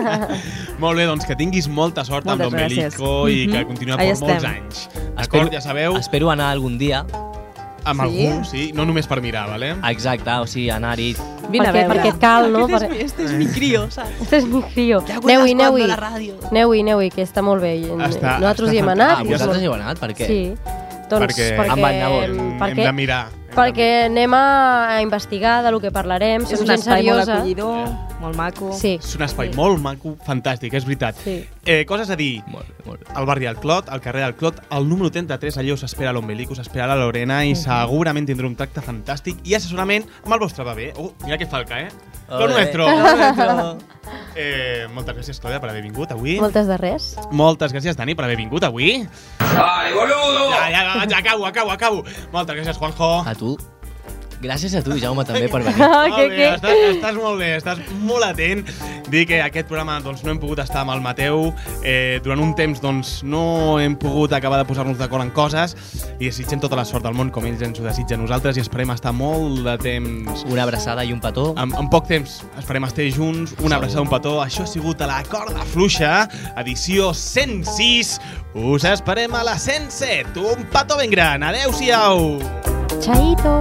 S1: Molt bé, doncs que tinguis molta sort
S9: Moltes
S1: amb Don
S9: gràcies.
S1: Belico i
S9: Mhm.
S1: que continuï
S9: Ahí
S1: per molts
S9: estem.
S1: anys. D'acord, ja sabeu.
S2: Espero anar algun dia. Ah,
S1: Amb algú, sí, no només per mirar, vale?
S2: Exacte, o sigui, anar-hi.
S10: perquè, Perquè et cal, no?
S2: Aquest és
S10: Perquè-
S2: Este es mi crío, saps?
S10: Este és mi crio.
S2: acuerdas
S10: Aneu-hi,
S2: cuando
S10: aneu-hi.
S2: la ràdio?
S10: Aneu-hi, aneu-hi, que està molt bé.
S1: Està-
S10: Nosaltres
S1: està
S10: hi hem
S1: fantàstic.
S10: anat.
S1: Ah, vosaltres
S2: hi heu anat? Per què?
S10: Sí. Doncs perquè...
S1: Perquè-
S10: perquè
S1: Em van anar
S2: molt.
S10: perquè-
S1: Hem de mirar.
S10: Perquè anem a, a investigar de lo que parlarem,
S9: És
S10: som
S9: un
S10: gent
S9: espai molt
S10: seriosa.
S9: acollidor, molt maco.
S10: Sí.
S1: És un espai molt maco, fantàstic, és veritat.
S10: Sí.
S1: Eh, coses a dir. Molt, molt. Al barri del Clot, al carrer del Clot, al número 33, allò us espera l'Ombelico, us espera la Lorena i segurament tindrà un tracte fantàstic i assessorament amb el vostre bebè. Uh, mira que falca, eh? Lo
S16: Ole.
S1: nuestro.
S16: Lo nuestro.
S1: Eh, moltes gràcies, Clàudia, per haver vingut avui.
S10: Moltes de res.
S1: Moltes gràcies, Dani, per haver vingut avui. Ai, boludo! Ja, ja, vaig, acabo, acabo, acabo. Moltes gràcies, Juanjo.
S2: A tu. Gràcies a tu, Jaume, també, per venir.
S9: Ah,
S1: Molt
S10: què,
S1: bé,
S10: què?
S1: Estàs, estàs molt bé, estàs molt atent. Dir que aquest programa doncs, no hem pogut estar amb el Mateu. Eh, durant un temps doncs, no hem pogut acabar de posar-nos d'acord en coses i desitgem tota la sort del món com ells ens ho desitgen a nosaltres i esperem estar molt de temps...
S2: Una abraçada i un petó.
S1: En, en poc temps esperem estar junts, una abraçada, un petó. Això ha sigut a la corda fluixa, edició 106. Us esperem a la 107. Un petó ben gran. Adeu-siau.
S10: Chaito.